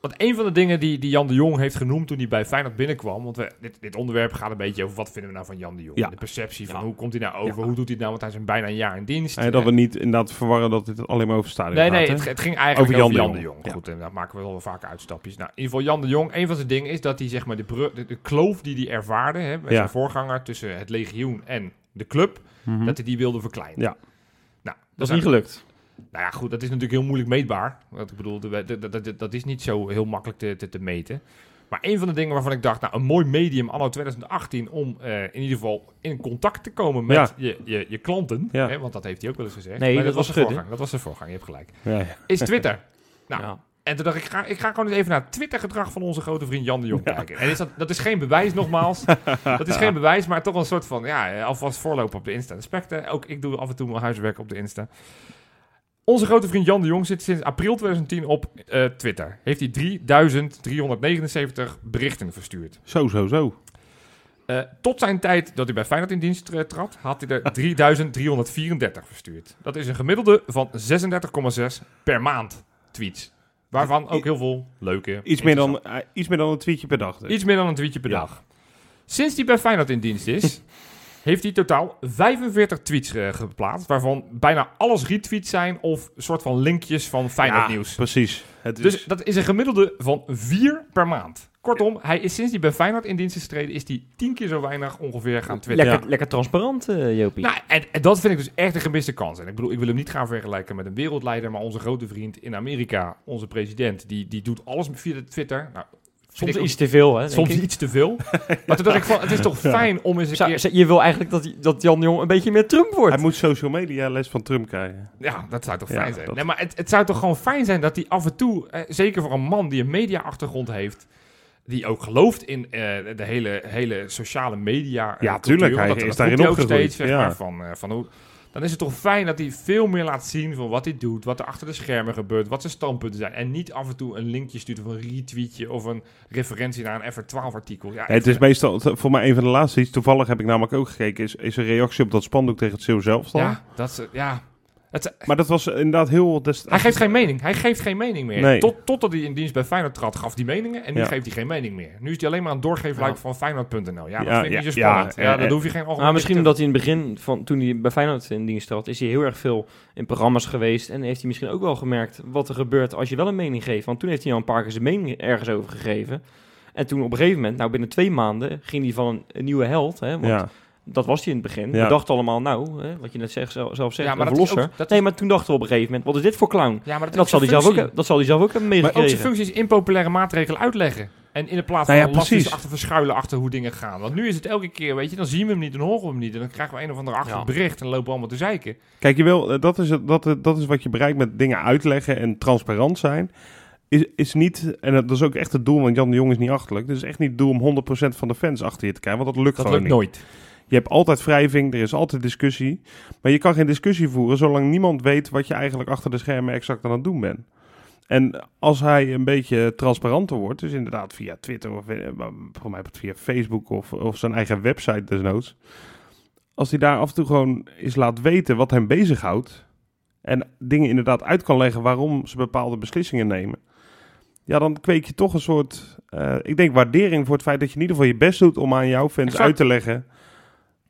Want een van de dingen die, die Jan de Jong heeft genoemd toen hij bij Feyenoord binnenkwam... want we, dit, dit onderwerp gaat een beetje over wat vinden we nou van Jan de Jong. Ja. De perceptie van Ja. hoe komt hij nou over, Ja. hoe doet hij het nou... want hij is een bijna een jaar in dienst. Eh, dat we niet inderdaad verwarren dat dit alleen maar over stadion Nee, gaat. nee, hè? het, het ging eigenlijk over Jan, de Jong. Ja. Goed, en daar maken we wel vaak uitstapjes. Nou, in ieder geval Jan de Jong, een van zijn dingen is dat hij zeg maar de, bru- de, de kloof die hij ervaarde... Hè, met Ja. zijn voorganger tussen het legioen en de club... Mhm. dat hij die wilde verkleinen. Ja. Nou, Dat dus is niet gelukt. nou ja, goed, dat is natuurlijk heel moeilijk meetbaar. Want ik bedoel, de- de- de- de- dat is niet zo heel makkelijk te, te, te meten. Maar een van de dingen waarvan ik dacht, nou, een mooi medium anno 2018 om eh, in ieder geval in contact te komen met Ja. je, je, je klanten. Ja. Hè, want dat heeft hij ook wel eens gezegd. Nee, Maar dat was de Gudde. voorgang. Dat was de voorgang, je hebt gelijk. Ja, ja. Is Twitter. Nou, Ja. En toen dacht ik, ik ga, ik ga gewoon eens even naar het Twitter-gedrag van onze grote vriend Jan de Jong kijken. En is dat, dat is geen bewijs, nogmaals. dat is geen bewijs, maar toch wel een soort van, ja, eh, alvast voorlopen op de Insta. Respecten, ook ik doe af en toe mijn huiswerk op de Insta. Onze grote vriend Jan de Jong zit sinds april 2010 op eh, Twitter. Heeft hij 3379 berichten verstuurd. Zo, zo, zo. Eh, tot zijn tijd dat hij bij Feyenoord in dienst eh, trad, had hij er 3334 verstuurd. Dat is een gemiddelde van 36,6 per maand tweets. Waarvan ook heel veel leuke. Iets meer, dan, eh, iets meer dan een tweetje per dag. dus. Iets meer dan een tweetje per Ja. dag. Sinds hij bij Feyenoord in dienst is, heeft hij totaal 45 tweets eh, geplaatst. Waarvan bijna alles retweets zijn of soort van linkjes van Feyenoord Ja, nieuws. Precies. Het is, Dus dat is een gemiddelde van 4 per maand. Kortom, hij is sinds hij bij Feyenoord in dienst is getreden, is hij 10 keer zo weinig ongeveer gaan twitteren. Lekker, lekker transparant, eh, Jopie. Nou, en, en dat vind ik dus echt een gemiste kans. En ik bedoel, ik wil hem niet gaan vergelijken met een wereldleider, maar onze grote vriend in Amerika, onze president, die, die doet alles via de Twitter. Nou, vind soms ik ook- iets te veel, hè? Soms denk ik. iets te veel. Maar toen dacht ik van, het is toch fijn om eens een Zou- keer... zou- je wil eigenlijk dat, dat Jan de Jong een beetje meer Trump wordt. hij moet social media les van Trump krijgen. Ja, dat zou toch Ja, fijn zijn. dat- Nee, maar het, het zou toch gewoon fijn zijn dat hij af en toe, eh, zeker voor een man die een media-achtergrond heeft, die ook gelooft in eh, de hele, hele sociale media. eh, Ja, cultuur, tuurlijk, want hij dat- is dat daarin roept hij ook opgegroeid, steeds, zeg ja. maar, van, eh, van hoe... Dan is het toch fijn dat hij veel meer laat zien van wat hij doet, wat er achter de schermen gebeurt, wat zijn standpunten zijn. En niet af en toe een linkje stuurt of een retweetje of een referentie naar een FR12-artikel. Ja, het is meestal, t- voor mij een van de laatste iets, toevallig heb ik namelijk ook gekeken, is, is een reactie op dat spandoek tegen het Zeeuw zelf. ja, dat is, ja. Het, Maar dat was inderdaad heel... des- Hij geeft geen mening. Hij geeft geen mening meer. Nee. Tot, totdat hij in dienst bij Feyenoord trad, gaf hij meningen. En nu Ja. geeft hij geen mening meer. Nu is hij alleen maar aan het doorgeven Ja. like van Feyenoord.nl. Ja, dat Ja, vind ik ja, niet zo ja, spannend. Ja, ja, dat ja. hoef je geen algemeen... Maar misschien omdat hij in het begin, van, toen hij bij Feyenoord in dienst had, is hij heel erg veel in programma's geweest. En heeft hij misschien ook wel gemerkt wat er gebeurt als je wel een mening geeft. Want toen heeft hij al een paar keer zijn mening ergens over gegeven. En toen op een gegeven moment, nou binnen twee maanden, ging hij van een, een nieuwe held. Hè, want ja. dat was hij in het begin. Ja. We dachten allemaal, nou, hè, wat je net zegt, zelf, zelf zegt, Ja, maar een dat is verlosser. ook- dat is- Nee, maar toen dachten we op een gegeven moment, wat is dit voor clown? Ja, maar dat, En dat zal, hij zelf ook, eh, he- dat zal hij zelf ook hebben Maar ook zijn meegekregen. functie is impopulaire maatregelen uitleggen. En in de plaats van Nou ja, nou precies. achter verschuilen achter hoe dingen gaan. Want nu is het elke keer, weet je, dan zien we hem niet en horen we hem niet. En dan krijgen we een of ander achter Ja. bericht en lopen we allemaal te zeiken. Kijk, je wil, eh, dat, is, het- dat, eh, dat is wat je bereikt met dingen uitleggen en transparant zijn. Is, is niet, en dat is ook echt het doel, want Jan de Jong is niet achterlijk. Het is echt niet het doel om 100% van de fans achter je te krijgen, want dat lukt Dat gewoon lukt niet. nooit. Je hebt altijd wrijving, er is altijd discussie. Maar je kan geen discussie voeren zolang niemand weet wat je eigenlijk achter de schermen exact aan het doen bent. En als hij een beetje transparanter wordt, dus inderdaad via Twitter of eh, maar volgens mij via Facebook of, of zijn eigen website desnoods. Als hij daar af en toe gewoon eens laat weten wat hem bezighoudt. En dingen inderdaad uit kan leggen waarom ze bepaalde beslissingen nemen. Ja, dan kweek je toch een soort, eh, ik denk, waardering voor het feit dat je in ieder geval je best doet om aan jouw fans Exact. uit te leggen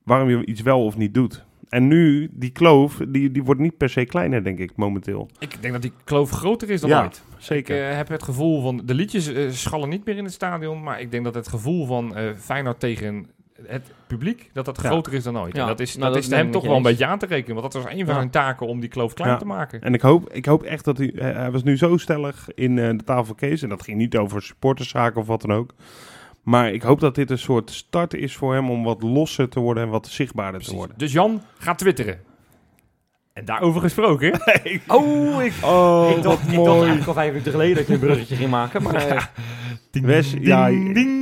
waarom je iets wel of niet doet. En nu, die kloof, die, die wordt niet per se kleiner, denk ik, momenteel. Ik denk dat die kloof groter is dan Ja. ooit. Ik Zeker. eh, heb het gevoel van de liedjes eh, schallen niet meer in het stadion, maar ik denk dat het gevoel van eh Feyenoord tegen het publiek dat dat Ja. groter is dan ooit. Ja. En dat is, Nou, dat dat is ben ik hem met toch je wel een eens. beetje aan te rekenen, want dat was een van Ja. zijn taken om die kloof klein Ja. te maken. En ik hoop, ik hoop echt dat hij... eh, hij was nu zo stellig in eh, de tafelcase. En dat ging niet over supporterszaken of wat dan ook. Maar ik hoop dat dit een soort start is voor hem om wat losser te worden en wat zichtbaarder te worden. Dus Jan gaat twitteren. En daarover gesproken. Oh, ik, Oh, ik dacht, ik dacht eigenlijk al vijf minuten geleden dat je een bruggetje ging maken. Maar eh, Ding, Wes, ja, ding.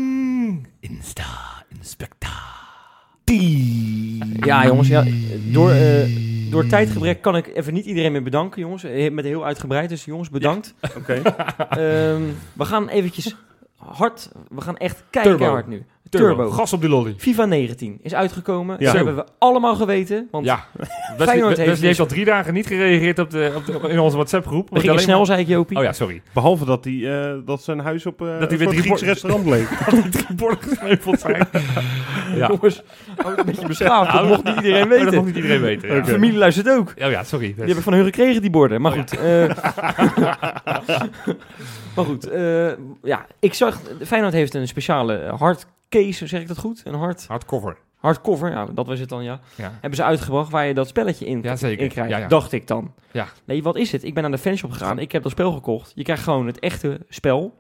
Ja, jongens, ja, door, eh, door tijdgebrek kan ik even niet iedereen meer bedanken, jongens. Eh, Met heel uitgebreid, dus jongens, bedankt. Oké. Ehm, we gaan eventjes hard, we gaan echt kijken Turbo. hard nu. Turbo. Turbo. Gas op die lolly. FIFA 19 is uitgekomen. Ja. Dat hebben we allemaal geweten, want Ja, Wesley, Feyenoord Wesley heeft heeft, dus- al drie dagen niet gereageerd op de, op de- in onze WhatsApp-groep. we Omdat gingen alleen snel, maar- zei ik, Jopie. Oh ja, sorry. Behalve dat, hij, eh, dat zijn huis op eh hij een weer soort drie Grieks por- restaurant bleek. Die borden gesneuveld zijn. ja. Oh, Jongens, ook een beetje beschaafd, dat Nou, mocht niet iedereen Maar dat weten. mocht niet iedereen weten. ja. De familie luistert ook. Oh ja, sorry. Die heb ik van hun gekregen, die borden. Maar Oh ja. goed. eh, maar goed, eh, ja, ik zag... Feyenoard heeft een speciale hardcase, zeg ik dat goed? Een hard, Hardcover. hardcover, ja, dat was het dan, ja. Ja. Hebben ze uitgebracht waar je dat spelletje in, Ja, zeker. in krijgt, Ja, ja. dacht ik dan. Ja. Nee, wat is het? Ik ben naar de fanshop gegaan, ik heb dat spel gekocht. Je krijgt gewoon het echte spel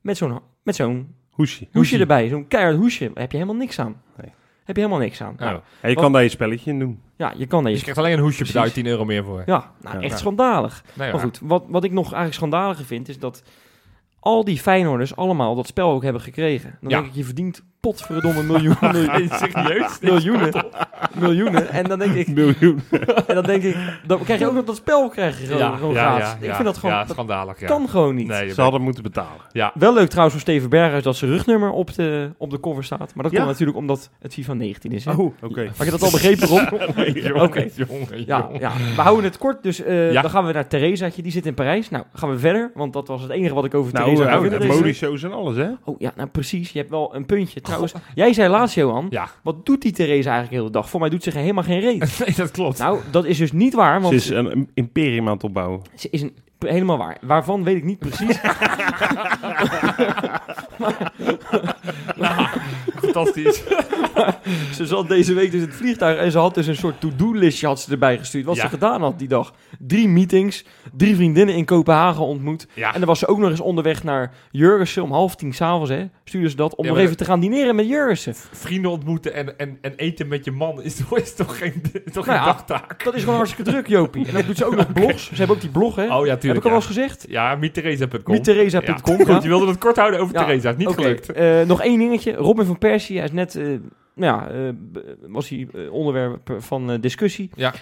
met zo'n met zo'n Hoesje. hoesje erbij. Zo'n keihard hoesje. Daar heb je helemaal niks aan. Nee. Heb je helemaal niks aan. Nou, Nou, Ja, je Wat- kan daar je spelletje in doen. ja, je kan dus je deze. krijgt alleen een hoesje, betaal je Precies. 10 euro meer voor. Ja, nou, Ja. echt Ja. schandalig. Nou ja. Maar goed, wat, wat ik nog eigenlijk schandaliger vind, is dat al die Feyenoorders allemaal dat spel ook hebben gekregen. Dan Ja. denk ik, je verdient potverdomme miljoen, miljoen- Serieus? miljoenen. Miljoenen. En dan denk ik, Miljoen. en dan denk ik, dan krijg je ook nog dat spel krijg je gewoon, gewoon gratis. ik vind dat gewoon, Ja, dat schandalig. Ja. kan gewoon niet. Nee, je Ze hadden moeten betalen. Wel leuk trouwens voor Steven Berghuis dat zijn rugnummer op de, op de cover staat. Maar dat Ja. komt natuurlijk omdat het FIFA 19 is. Hè? Oh, oké. Nou, Had je dat al begrepen, Rob? bent- Jongen, Oké. jongen, Ja, jongen. ja, we houden het kort. Dus eh, Ja. dan gaan we naar Theresaatje. Die zit in Parijs. Nou, gaan we verder. Want dat was het enige wat ik over Nou, Theresa eh, wou oude vertellen. modeshows en alles, hè? Oh ja, nou precies. Je hebt wel een puntje. Trouwens, jij zei laatst, Johan. Ja. Wat doet die Theresa eigenlijk de hele dag? Voor mij doet ze geen- helemaal geen reet. Nee, dat klopt. nou, dat is dus niet waar. Want Ze is een im- imperium aan het opbouwen. Ze is een, helemaal waar. Waarvan weet ik niet precies. Fantastisch. ze zat deze week dus in het vliegtuig en ze had dus een soort to-do-listje had ze erbij gestuurd. Wat Ja. ze gedaan had die dag. Drie meetings, drie vriendinnen in Kopenhagen ontmoet. Ja. Ah. En dan was ze ook nog eens onderweg naar Jurgensen om half tien s'avonds. Stuurde ze dat om Ja, nog maar- even te gaan dineren met Jurgensen. Vrienden ontmoeten en, en, en eten met je man is toch, is toch geen, is toch geen Nou ja. dagtaak? Dat is gewoon hartstikke druk, Jopie. En dan doet ze ook nog blogs. Ze hebben ook die blog, hè? Oh ja, tuurlijk. Heb ik al ja. wel eens gezegd? Ja, mieteresa.com. Ja, MietTheresa.com. goed, je wilde het kort houden over Theresa. Niet Oké, gelukt. eh, nog één dingetje. Robin van Persie, hij is net, eh, nou ja, eh, b- was hij eh, onderwerp van eh, discussie. Ja.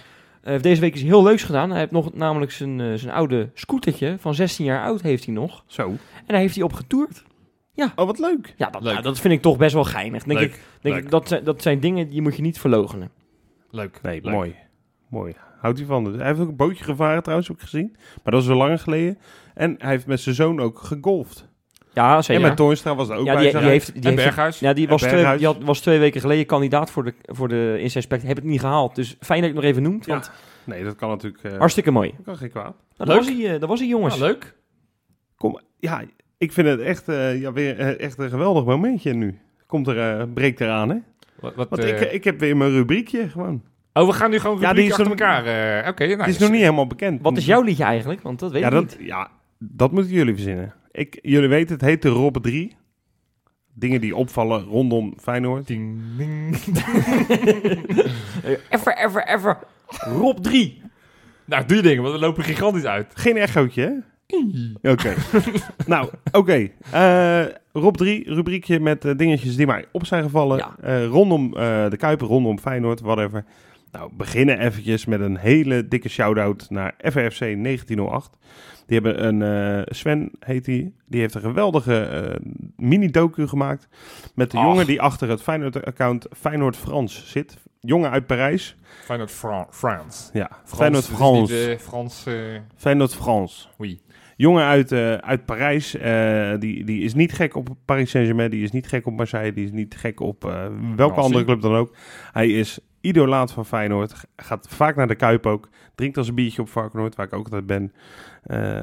Eh, deze week is hij heel leuks gedaan. Hij heeft nog namelijk zijn, eh, zijn oude scootertje van 16 jaar oud heeft hij nog. Zo. En daar heeft hij op getoerd. Oh, wat leuk. Ja, dat, Leuk. nou, dat vind ik toch best wel geinig. Denk leuk, ik, denk leuk. ik dat, zijn, dat zijn dingen die moet je niet verlogenen. leuk. Nee, leuk. mooi. Mooi. Houdt hij van. Hij heeft ook een bootje gevaren trouwens, heb ik gezien. Maar dat is al lang geleden. En hij heeft met zijn zoon ook gegolfd. Ja, En zeker. met Toornstra was er ook ja, bij. die, zeg. die heeft, die en heeft, Berghuis. ja, die En was twee, Berghuis. die had- was twee weken geleden kandidaat voor de, voor de Insight Heb het niet gehaald. Dus fijn dat je het nog even noemt. Ja. Want Nee, dat kan natuurlijk... eh, hartstikke mooi. dat kan geen kwaad. Nou, Leuk. dat, was hij, eh, dat was hij, jongens. Ja, Ah, leuk. Kom, ja, ik vind het echt, eh, ja, weer, eh, echt een geweldig momentje nu. Komt er, eh, breekt eraan, hè? Wat, wat, Want eh, ik, ik heb weer mijn rubriekje gewoon. oh, we gaan nu gewoon Ja, rubriek die is achter nog- elkaar. eh, Oké, nou, Het is nog niet helemaal bekend. Wat is jouw liedje eigenlijk? Want dat weet ja, ik dat, niet. ja, dat moeten jullie verzinnen. Ik, jullie weten, het heet de Robbe 3. Dingen die opvallen rondom Feyenoord. Ding, ding. Even, even, even. Rob 3. Nou, doe je dingen, want we lopen gigantisch uit. Geen echootje, hè? Oké. nou, oké. Eh, Rob 3, rubriekje met eh, dingetjes die mij op zijn gevallen. Ja. Eh, rondom eh, de Kuiper, rondom Feyenoord, whatever. Nou, beginnen eventjes met een hele dikke shout-out naar FFC 1908. Die hebben een, eh, Sven heet die, die heeft een geweldige eh, mini-docu gemaakt. Met de Ach. jongen die achter het Feyenoord-account Feyenoord Frans zit. Jongen uit Parijs. Feyenoord Fran France. Ja, Frans, Feyenoord dus Frans. niet, eh, Frans, eh, Feyenoord Frans. oui. jongen uit, eh, uit Parijs, eh, die, die is niet gek op Paris Saint-Germain, die is niet gek op Marseille, die is niet gek op eh, welke Marseille. andere club dan ook. Hij is idolaat van Feyenoord, g- gaat vaak naar de Kuip ook, drinkt als een biertje op Varkenoord, waar ik ook altijd ben. Eh,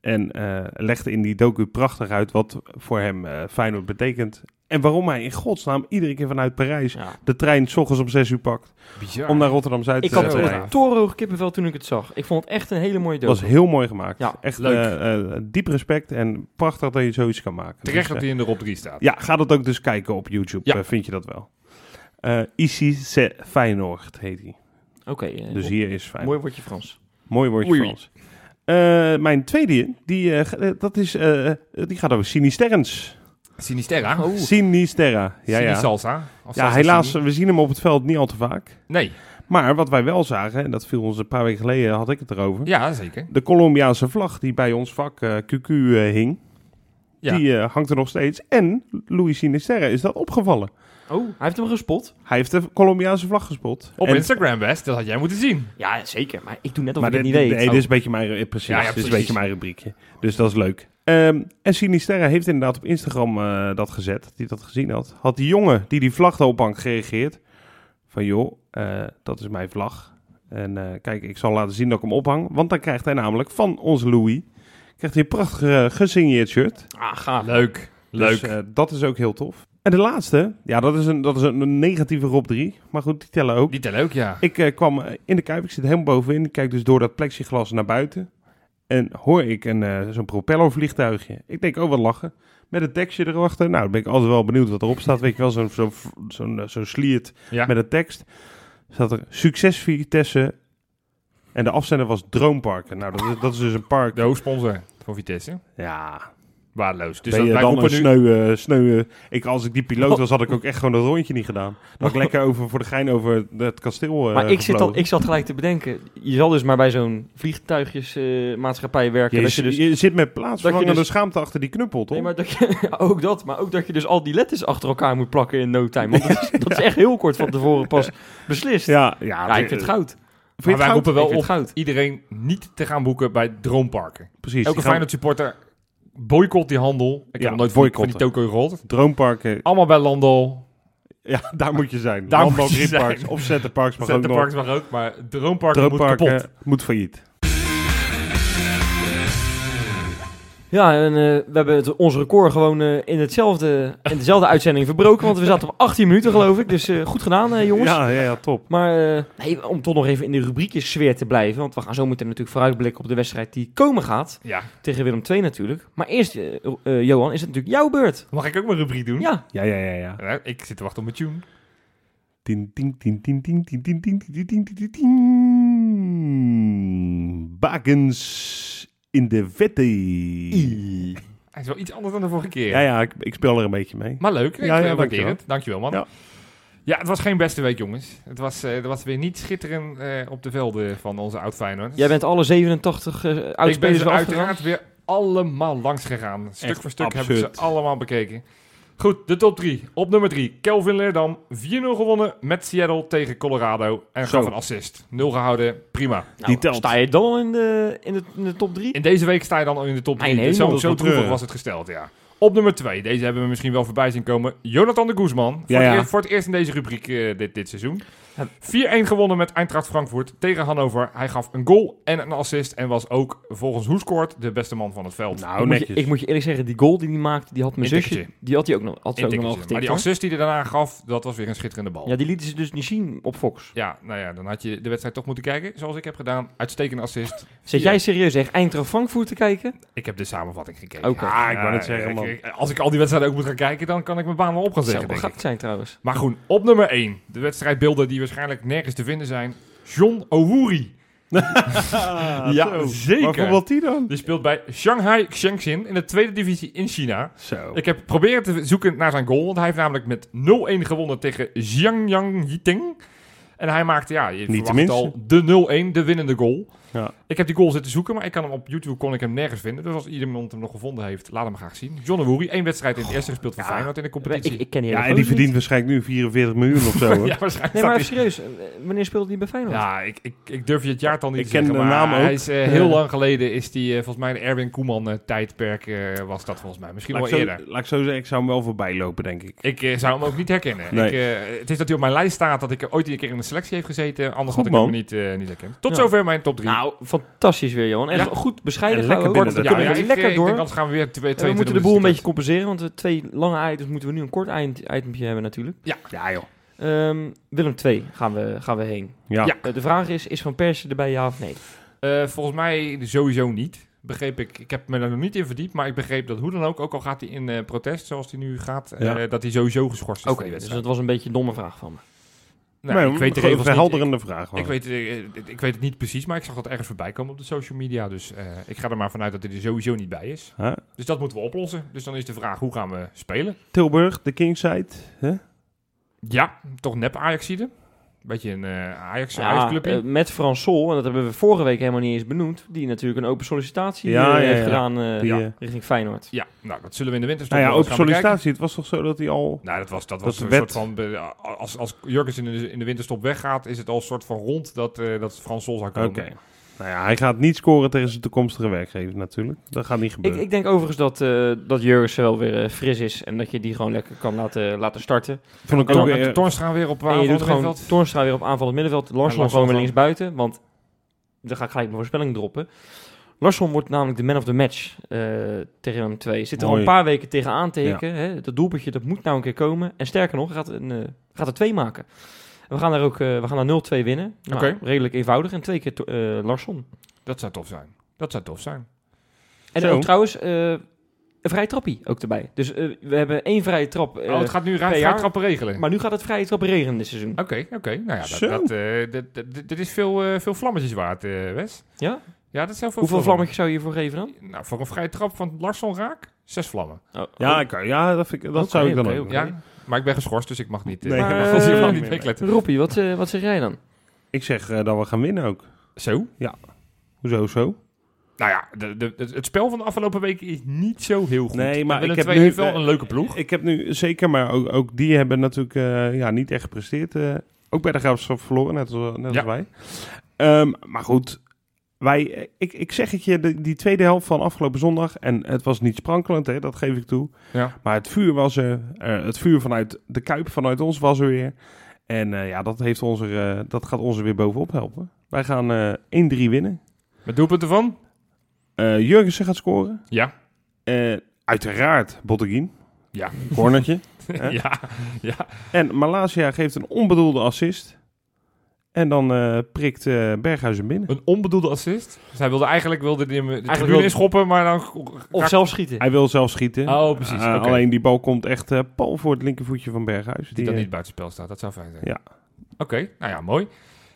en eh, legt in die docu prachtig uit wat voor hem eh, Feyenoord betekent. En waarom hij in godsnaam iedere keer vanuit Parijs de trein s ochtends om 6 uur pakt. Bizar. Om naar Rotterdam-Zuid Ik te had Zo, rijden. ja. een torenhoog kippenvel toen ik het zag. Ik vond het echt een hele mooie Dat was doos. heel mooi gemaakt. Ja, Echt leuk. eh, eh, diep respect en prachtig dat je zoiets kan maken. Dus, Terecht eh, dat hij in de Rob 3 staat. Ja, ga dat ook dus kijken op YouTube. Ja. eh, vind je dat wel? Eh Issy Se Feyenoord heet hij. Oké, eh, Dus hier is Feyenoord. mooi woordje Frans. Mooi, woordje Oei. Frans. Eh, mijn tweede, die, eh, ga- eh, dat is, eh, eh, die gaat over Sinisterrens. Sinisterra. Sinisterra. Oh. Ja, ja. Sinisalsa. Of ja salsa helaas, sini. we zien hem op het veld niet al te vaak. Nee, Maar wat wij wel zagen, en dat viel ons een paar weken geleden, had ik het erover. ja, zeker. De Colombiaanse vlag die bij ons vak eh, QQ eh, hing, Ja. die eh, hangt er nog steeds. En Luis Sinisterra is dat opgevallen. Oh, hij heeft hem gespot. Hij heeft de Colombiaanse vlag gespot. Op En- Instagram, best. Dat had jij moeten zien. Ja, zeker. Maar ik doe net of Maar ik het dit, niet dit- weet. nee, dit is een beetje mijn, eh, precies, Oh. Ja, ja, Dit is een precies. beetje mijn rubriekje. Dus dat is leuk. Ehm, en Sinisterra heeft inderdaad op Instagram eh, dat gezet, die dat gezien had. Had die jongen die die vlag erop hangt gereageerd. Van joh, eh, dat is mijn vlag. En eh, kijk, ik zal laten zien dat ik hem ophang. Want dan krijgt hij namelijk van onze Louis, krijgt hij een prachtig eh, gesigneerd shirt. Ah, gaaf. Leuk. Leuk. Dus eh, dat is ook heel tof. En de laatste, ja dat is een, dat is een negatieve Rob 3. Maar goed, die tellen ook. Die tellen ook, ja. Ik eh, kwam eh, in de kuip, ik zit helemaal bovenin. Ik kijk dus door dat plexiglas naar buiten. En hoor ik een, eh, zo'n propellervliegtuigje. Ik denk, oh wat lachen. Met het tekstje erachter. Nou, dan ben ik altijd wel benieuwd wat erop staat. Weet je wel, zo'n zo'n zo'n, eh, zo'n sliert Ja. met een tekst. Zat er succes Vitesse. En de afzender was Droomparken. Nou, dat is, dat is dus een park. De hoofdsponsor voor Vitesse. Ja, waardeloos. Dus ben dat, je wij dan een roepen nu, sneuwe, sneuwe... eh, Ik, als ik die piloot Oh. was, had ik ook echt gewoon dat rondje niet gedaan. Dan had ik lekker over, voor de gein over het kasteel eh, Maar ik zit, al, gevlogen. ik zat gelijk te bedenken, je zal dus maar bij zo'n vliegtuigjesmaatschappij werken. je, dat je dus, je zit met plaatsvervangende dus- schaamte achter die knuppel, toch? nee, maar dat je, ook dat, maar ook dat je dus al die letters achter elkaar moet plakken in no time. Want dat is, dat is echt heel kort van tevoren pas beslist. Ja, Ja, ja, ik vind het goud. maar wij roepen wel Ik vind op het goud. iedereen niet te gaan boeken bij droomparken. Precies. Elke die gaan- Feyenoord supporter boycott die handel. Ja, Ik heb nog nooit van die- van die boycotten. toko gerold. Droomparken, Allemaal bij Landal. ja, daar moet je zijn. Daar Landbouw, moet je Grindparks zijn. of Zetterparks mag ook nog. Centerparks mag ook, maar droomparken moet kapot. Droomparken moet failliet. Ja, en eh, we hebben het, ons record gewoon eh, in, hetzelfde, in dezelfde uitzending verbroken. Want we zaten op 18 minuten, geloof ik. Dus eh, goed gedaan, eh, jongens. Ja, ja, ja, top. Maar eh, nee, om toch nog even in de rubriekjes sfeer te blijven. Want we gaan zo meteen natuurlijk vooruitblikken op de wedstrijd die komen gaat. Ja, Tegen Willem II natuurlijk. Maar eerst, eh, eh, Johan, is het natuurlijk jouw beurt. mag ik ook mijn rubriek doen? Ja, Ja, ja, ja, ja. Ja, Ik zit te wachten op mijn tune. Tin, tin, tin, tin, tin, tin, tin, tin, tin, tin, tin, tin, tin, tin. Bakens in de vette. Hij is wel iets anders dan de vorige keer. Ja, ja, ik, ik speel er een beetje mee. Maar leuk, ik Ja, ja, ja, waardeer dankjewel. het. Dankjewel, man. Ja. Ja. het was geen beste week, jongens. Het was, eh, er was weer niet schitterend eh, op de velden van onze oud-Feyenoord. jij bent alle 87 eh Ik ben oudspelers ze wel afgegaan. uiteraard weer allemaal langs gegaan. Stuk Echt voor stuk heb absurd. ik ze allemaal bekeken. Goed, de top 3. Op nummer 3, Kelvin Leerdam. 4-0 gewonnen met Seattle tegen Colorado. En Zo. gaf een assist. 0 gehouden, prima. Die telt. Nou, Sta je dan al in de, in de, in de top 3? In deze week sta je dan al in de top Mijn 3. hemel, dat zo is zo wel droevig treurig. was het gesteld, ja. Op nummer 2, deze hebben we misschien wel voorbij zien komen. Jonathan de Guzman. Voor, Ja, het ja. eerst- voor het eerst in deze rubriek eh, dit, dit seizoen. Ja. 4-1 gewonnen met Eintracht Frankfurt tegen Hannover. Hij gaf een goal en een assist. En was ook volgens Hoeskort de beste man van het veld. Nou, ik, moet je, netjes. ik moet je eerlijk zeggen, die goal die hij maakte, die had mijn Een zusje, tikkertje. die had hij ook nog, had ze ook nog wel Intikkertje. getikt. maar die hoor. assist die hij daarna gaf, dat was weer een schitterende bal. Ja, Ja. die lieten ze dus niet zien op Fox. nou ja, dan had je de wedstrijd toch moeten kijken, zoals ik heb gedaan. Uitstekende assist. Zit jij serieus echt Eintracht Frankfurt te kijken? Ik heb de samenvatting gekeken. Oké. Ah, ik wou net Ja, zeggen, ik- man. ik- als ik al die wedstrijden ook moet gaan kijken, dan kan ik mijn baan wel op gaan Dat zou zeggen, wel denk ik. gek zijn trouwens. Maar goed, op nummer 1. De wedstrijdbeelden die waarschijnlijk nergens te vinden zijn. John Owuri. Ah, zo. zeker. Waarvoor wat die dan? Die speelt bij Shanghai Shenzhen in de tweede divisie in China. Zo. Oh. Ik heb proberen te zoeken naar zijn goal. Want hij heeft namelijk met 0-1 gewonnen tegen Xiangyang Yiting. En hij maakte, ja, je Niet verwacht te het al, de 0-1, de winnende goal. Ja. Ik heb die goal zitten zoeken, maar ik kan hem op YouTube kon ik hem nergens vinden. Dus als iemand hem nog gevonden heeft, laat hem graag zien. John Owuri, één wedstrijd in het eerste gespeeld voor Ja. Feyenoord in de Ik, competitie. ik ken die Ja, en hele die gozer verdient waarschijnlijk nu 44 miljoen of zo. hoor. ja, waarschijnlijk. niet. Nee, maar staat even serieus, eh, wanneer speelde die bij Feyenoord? Ja, ik, ik, ik durf je het jaartal niet Ik te ken zeggen, de maar naam ook. hij is eh, heel Ja. lang geleden, is die, eh, volgens mij de Erwin Koeman eh, tijdperk eh, was dat volgens mij. Misschien Laat ik, wel zo, eerder. laat ik zo zeggen, ik zou hem wel voorbij lopen, denk ik. Ik eh, zou hem ook niet herkennen. Nee. Ik, eh, het is dat hij op mijn lijst staat dat ik eh, ooit een keer in de selectie heeft gezeten. Goed, Anders had ik hem man. niet, eh, niet herkend. Tot Ja. zover mijn top 3. Nou, fantastisch weer, Johan. Echt Ja. goed bescheiden. En gaan lekker we ook. binnen de Dan tijd. kunnen we ik, eh, lekker ik door. denk, anders gaan we dus weer twee, Eh, we twee moeten de boel een beetje compenseren, want we twee lange items moeten we nu een kort eind itempje hebben natuurlijk. Ja, joh. Ehm, Willem 2 gaan we, gaan we heen. Ja. Ja. nou, Eh, de vraag is, is Van Persie erbij ja of nee? Eh, volgens mij sowieso niet. Begreep ik. Ik heb me daar nog niet in verdiept, maar ik begreep dat hoe dan ook, ook al gaat hij in eh, protest zoals hij nu gaat, eh, Ja. dat hij sowieso geschorst is. Oké, voor dus die wedstrijd. dat was een beetje een domme vraag van me. Nou, ik weet de een regels niet. verhelderende vraag. Ik hoor. weet, eh, eh, ik weet het niet precies, maar ik zag dat ergens voorbij komen op de social media. Dus eh, ik ga er maar vanuit dat hij er sowieso niet bij is. Huh? Dus dat moeten we oplossen. Dus dan is de vraag, hoe gaan we spelen? Tilburg, de Kingside. hè? Ja, toch nep Ajaxide. Beetje een eh ajax Ja, Ajax-clubje. eh, met Frans Sol, en dat hebben we vorige week helemaal niet eens benoemd, die natuurlijk een open sollicitatie Ja, eh, ja, heeft ja. gedaan eh, Die, ja. eh, richting Feyenoord. ja, nou, dat zullen we in de winter nou ja, nog wel open eens gaan bekijken. sollicitatie. Het was toch zo dat hij al... Nou, dat was, dat Dat was de een wet. soort van... be- Als, als Jurgens in de, in de winterstop weggaat, is het al een soort van rond dat, eh, dat Frans Sol zou Oké. komen. Nou ja, hij gaat niet scoren tegen zijn toekomstige werkgever natuurlijk. Dat gaat niet Ik, gebeuren. ik denk overigens dat, eh dat Jurgensen wel weer eh, fris is en dat je die gewoon lekker kan laten, laten starten. Vond ik En ook dan weer... met Torstra weer op En je doet gewoon middenveld. Toornstra weer op aanvallend middenveld. Larsson Larsson gewoon weer van- linksbuiten. Want dan ga ik gelijk mijn voorspelling droppen. Larsson wordt namelijk de man of the match eh, tegen hem 2. Zit er al Mooi. een paar weken tegenaan te hikken. Hè? Dat doelpuntje dat moet nou een keer komen. En sterker nog, hij gaat, een, eh, gaat er twee maken. En we gaan daar ook eh, we gaan daar 0-2 winnen. Nou, Oké. Redelijk eenvoudig. En twee keer to- eh, Larsson. Dat zou tof zijn. Dat zou tof zijn. En Zo. ook trouwens eh, een vrije trappie ook erbij. Dus eh, we hebben één vrije trap. eh, oh, het gaat nu raar, PR. raar trappen regelen. Maar nu gaat het vrije trap regenen dit seizoen. Oké, oké. Nou ja, dat, Zo. dat, eh, dat- dat- dit- dit is veel, eh, veel vlammetjes waard, eh Wes. Ja? Ja, dat is heel veel Hoeveel vlammetjes zou je hiervoor geven dan? Nou, voor een vrije trap van Larsson raak? Zes vlammen. Oh, Ja, oh. ik, ja dat, vind ik, dat Oké, zou ik dan oké, ook. oké. Ja, maar ik ben geschorst, dus ik mag niet. eh, Nee, ik maar, mag ons hier eh, wel niet meekletten. Roppie, wat, eh, wat zeg jij dan? Ik zeg eh, dat we gaan winnen ook. Zo. Hoezo zo? Nou ja, de, de, het- het spel van de afgelopen weken is niet zo heel goed. Nee, maar Willem ik heb II nu- heeft wel eh, een leuke ploeg. Ik heb nu zeker, maar ook, ook die hebben natuurlijk eh, ja, niet echt gepresteerd. eh, ook bij de Graafschap verloren, net als, net Ja. als wij. Ehm, maar goed, wij, eh, ik, ik zeg het je, de- die tweede helft van afgelopen zondag... en het was niet sprankelend, hè, dat geef ik toe. Ja. Maar het vuur was er, eh, het vuur vanuit de Kuip, vanuit ons was er weer. En eh, ja, dat, heeft ons er, eh, dat gaat ons er weer bovenop helpen. Wij gaan eh 1-3 winnen. Met doelpunten van? Eh Jurgensen gaat scoren. Ja. Eh, uiteraard Botteguin. Ja. Cornertje. Hè? ja. ja. En Malasia geeft een onbedoelde assist. En dan eh, prikt eh, Berghuis hem binnen. Een onbedoelde assist. Dus hij wilde eigenlijk wilde die hem de Eigenlijk tribune wilde- inschoppen, maar dan... Of raakt- zelf schieten. Hij wil zelf schieten. Oh, precies. Eh, Oké. Alleen die bal komt echt eh pal voor het linkervoetje van Berghuis. Die dan eh, niet buitenspel staat. Dat zou fijn zijn. Ja. Oké, nou ja, mooi.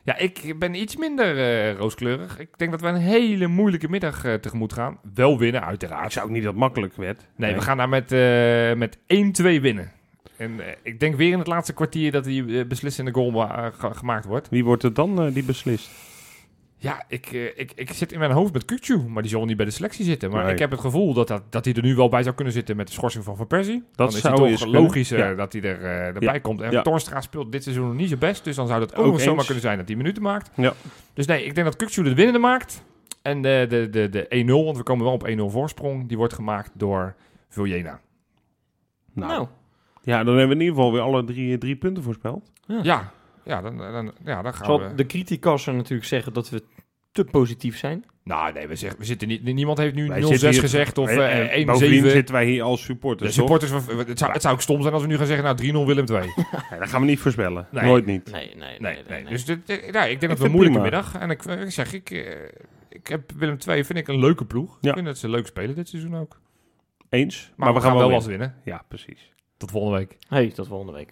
Ja, ik ben iets minder eh, rooskleurig. Ik denk dat we een hele moeilijke middag eh, tegemoet gaan. Wel winnen, ik uiteraard. zou ook niet dat makkelijk werd. Nee, we gaan daar met, eh, met 1-2 winnen. En eh, ik denk weer in het laatste kwartier dat die eh, beslissende goal wa- ge- gemaakt wordt. Wie wordt het dan eh, die beslist? Ja, ik, eh, ik, ik zit in mijn hoofd met Kukcu, maar die zal niet bij de selectie zitten. Maar Nee. ik heb het gevoel dat, dat, dat hij er nu wel bij zou kunnen zitten met de schorsing van Van Persie. dan is zou het eens toch kunnen. logischer Ja. dat hij er, eh erbij komt. En Ja. Torstra speelt dit seizoen nog niet zijn best, dus dan zou dat ook, Ook nog zomaar eens. kunnen zijn dat hij minuten maakt. Ja. Dus nee, ik denk dat Kukcu de winnende maakt. En de, de, de, de 1-0, want we komen wel op 1-0 voorsprong, die wordt gemaakt door Viljena. Nou, Ja, dan hebben we in ieder geval weer alle drie, eh, drie punten voorspeld. Ja, ja, dan, dan, ja, dan gaan zal we... de criticassen natuurlijk zeggen dat we te positief zijn. Nou nee, we, zeggen, we zitten niet, niemand heeft nu 0-6 Wij zitten hier- gezegd of Eh, eh, eh, 1-7. bovendien zitten wij hier als De supporters, supporters van, het, zou, het zou ook stom zijn als we nu gaan zeggen, nou 3-0 Willem 2. nee, toch? Nee, dat gaan we niet voorspellen. Nee. Nooit niet. Nee, nee, nee, Dus dit, dit- ja, vind ik denk dat we een het moeilijke prima. middag. En ik, ik zeg, ik, eh, ik heb Willem 2 vind ik een leuke ploeg. Ja. Ik vind dat ze leuk spelen dit seizoen ook. Maar, Eens. Maar, we, gaan, wel winnen. wat winnen. Ja, precies. Tot volgende week. Hey, tot volgende week.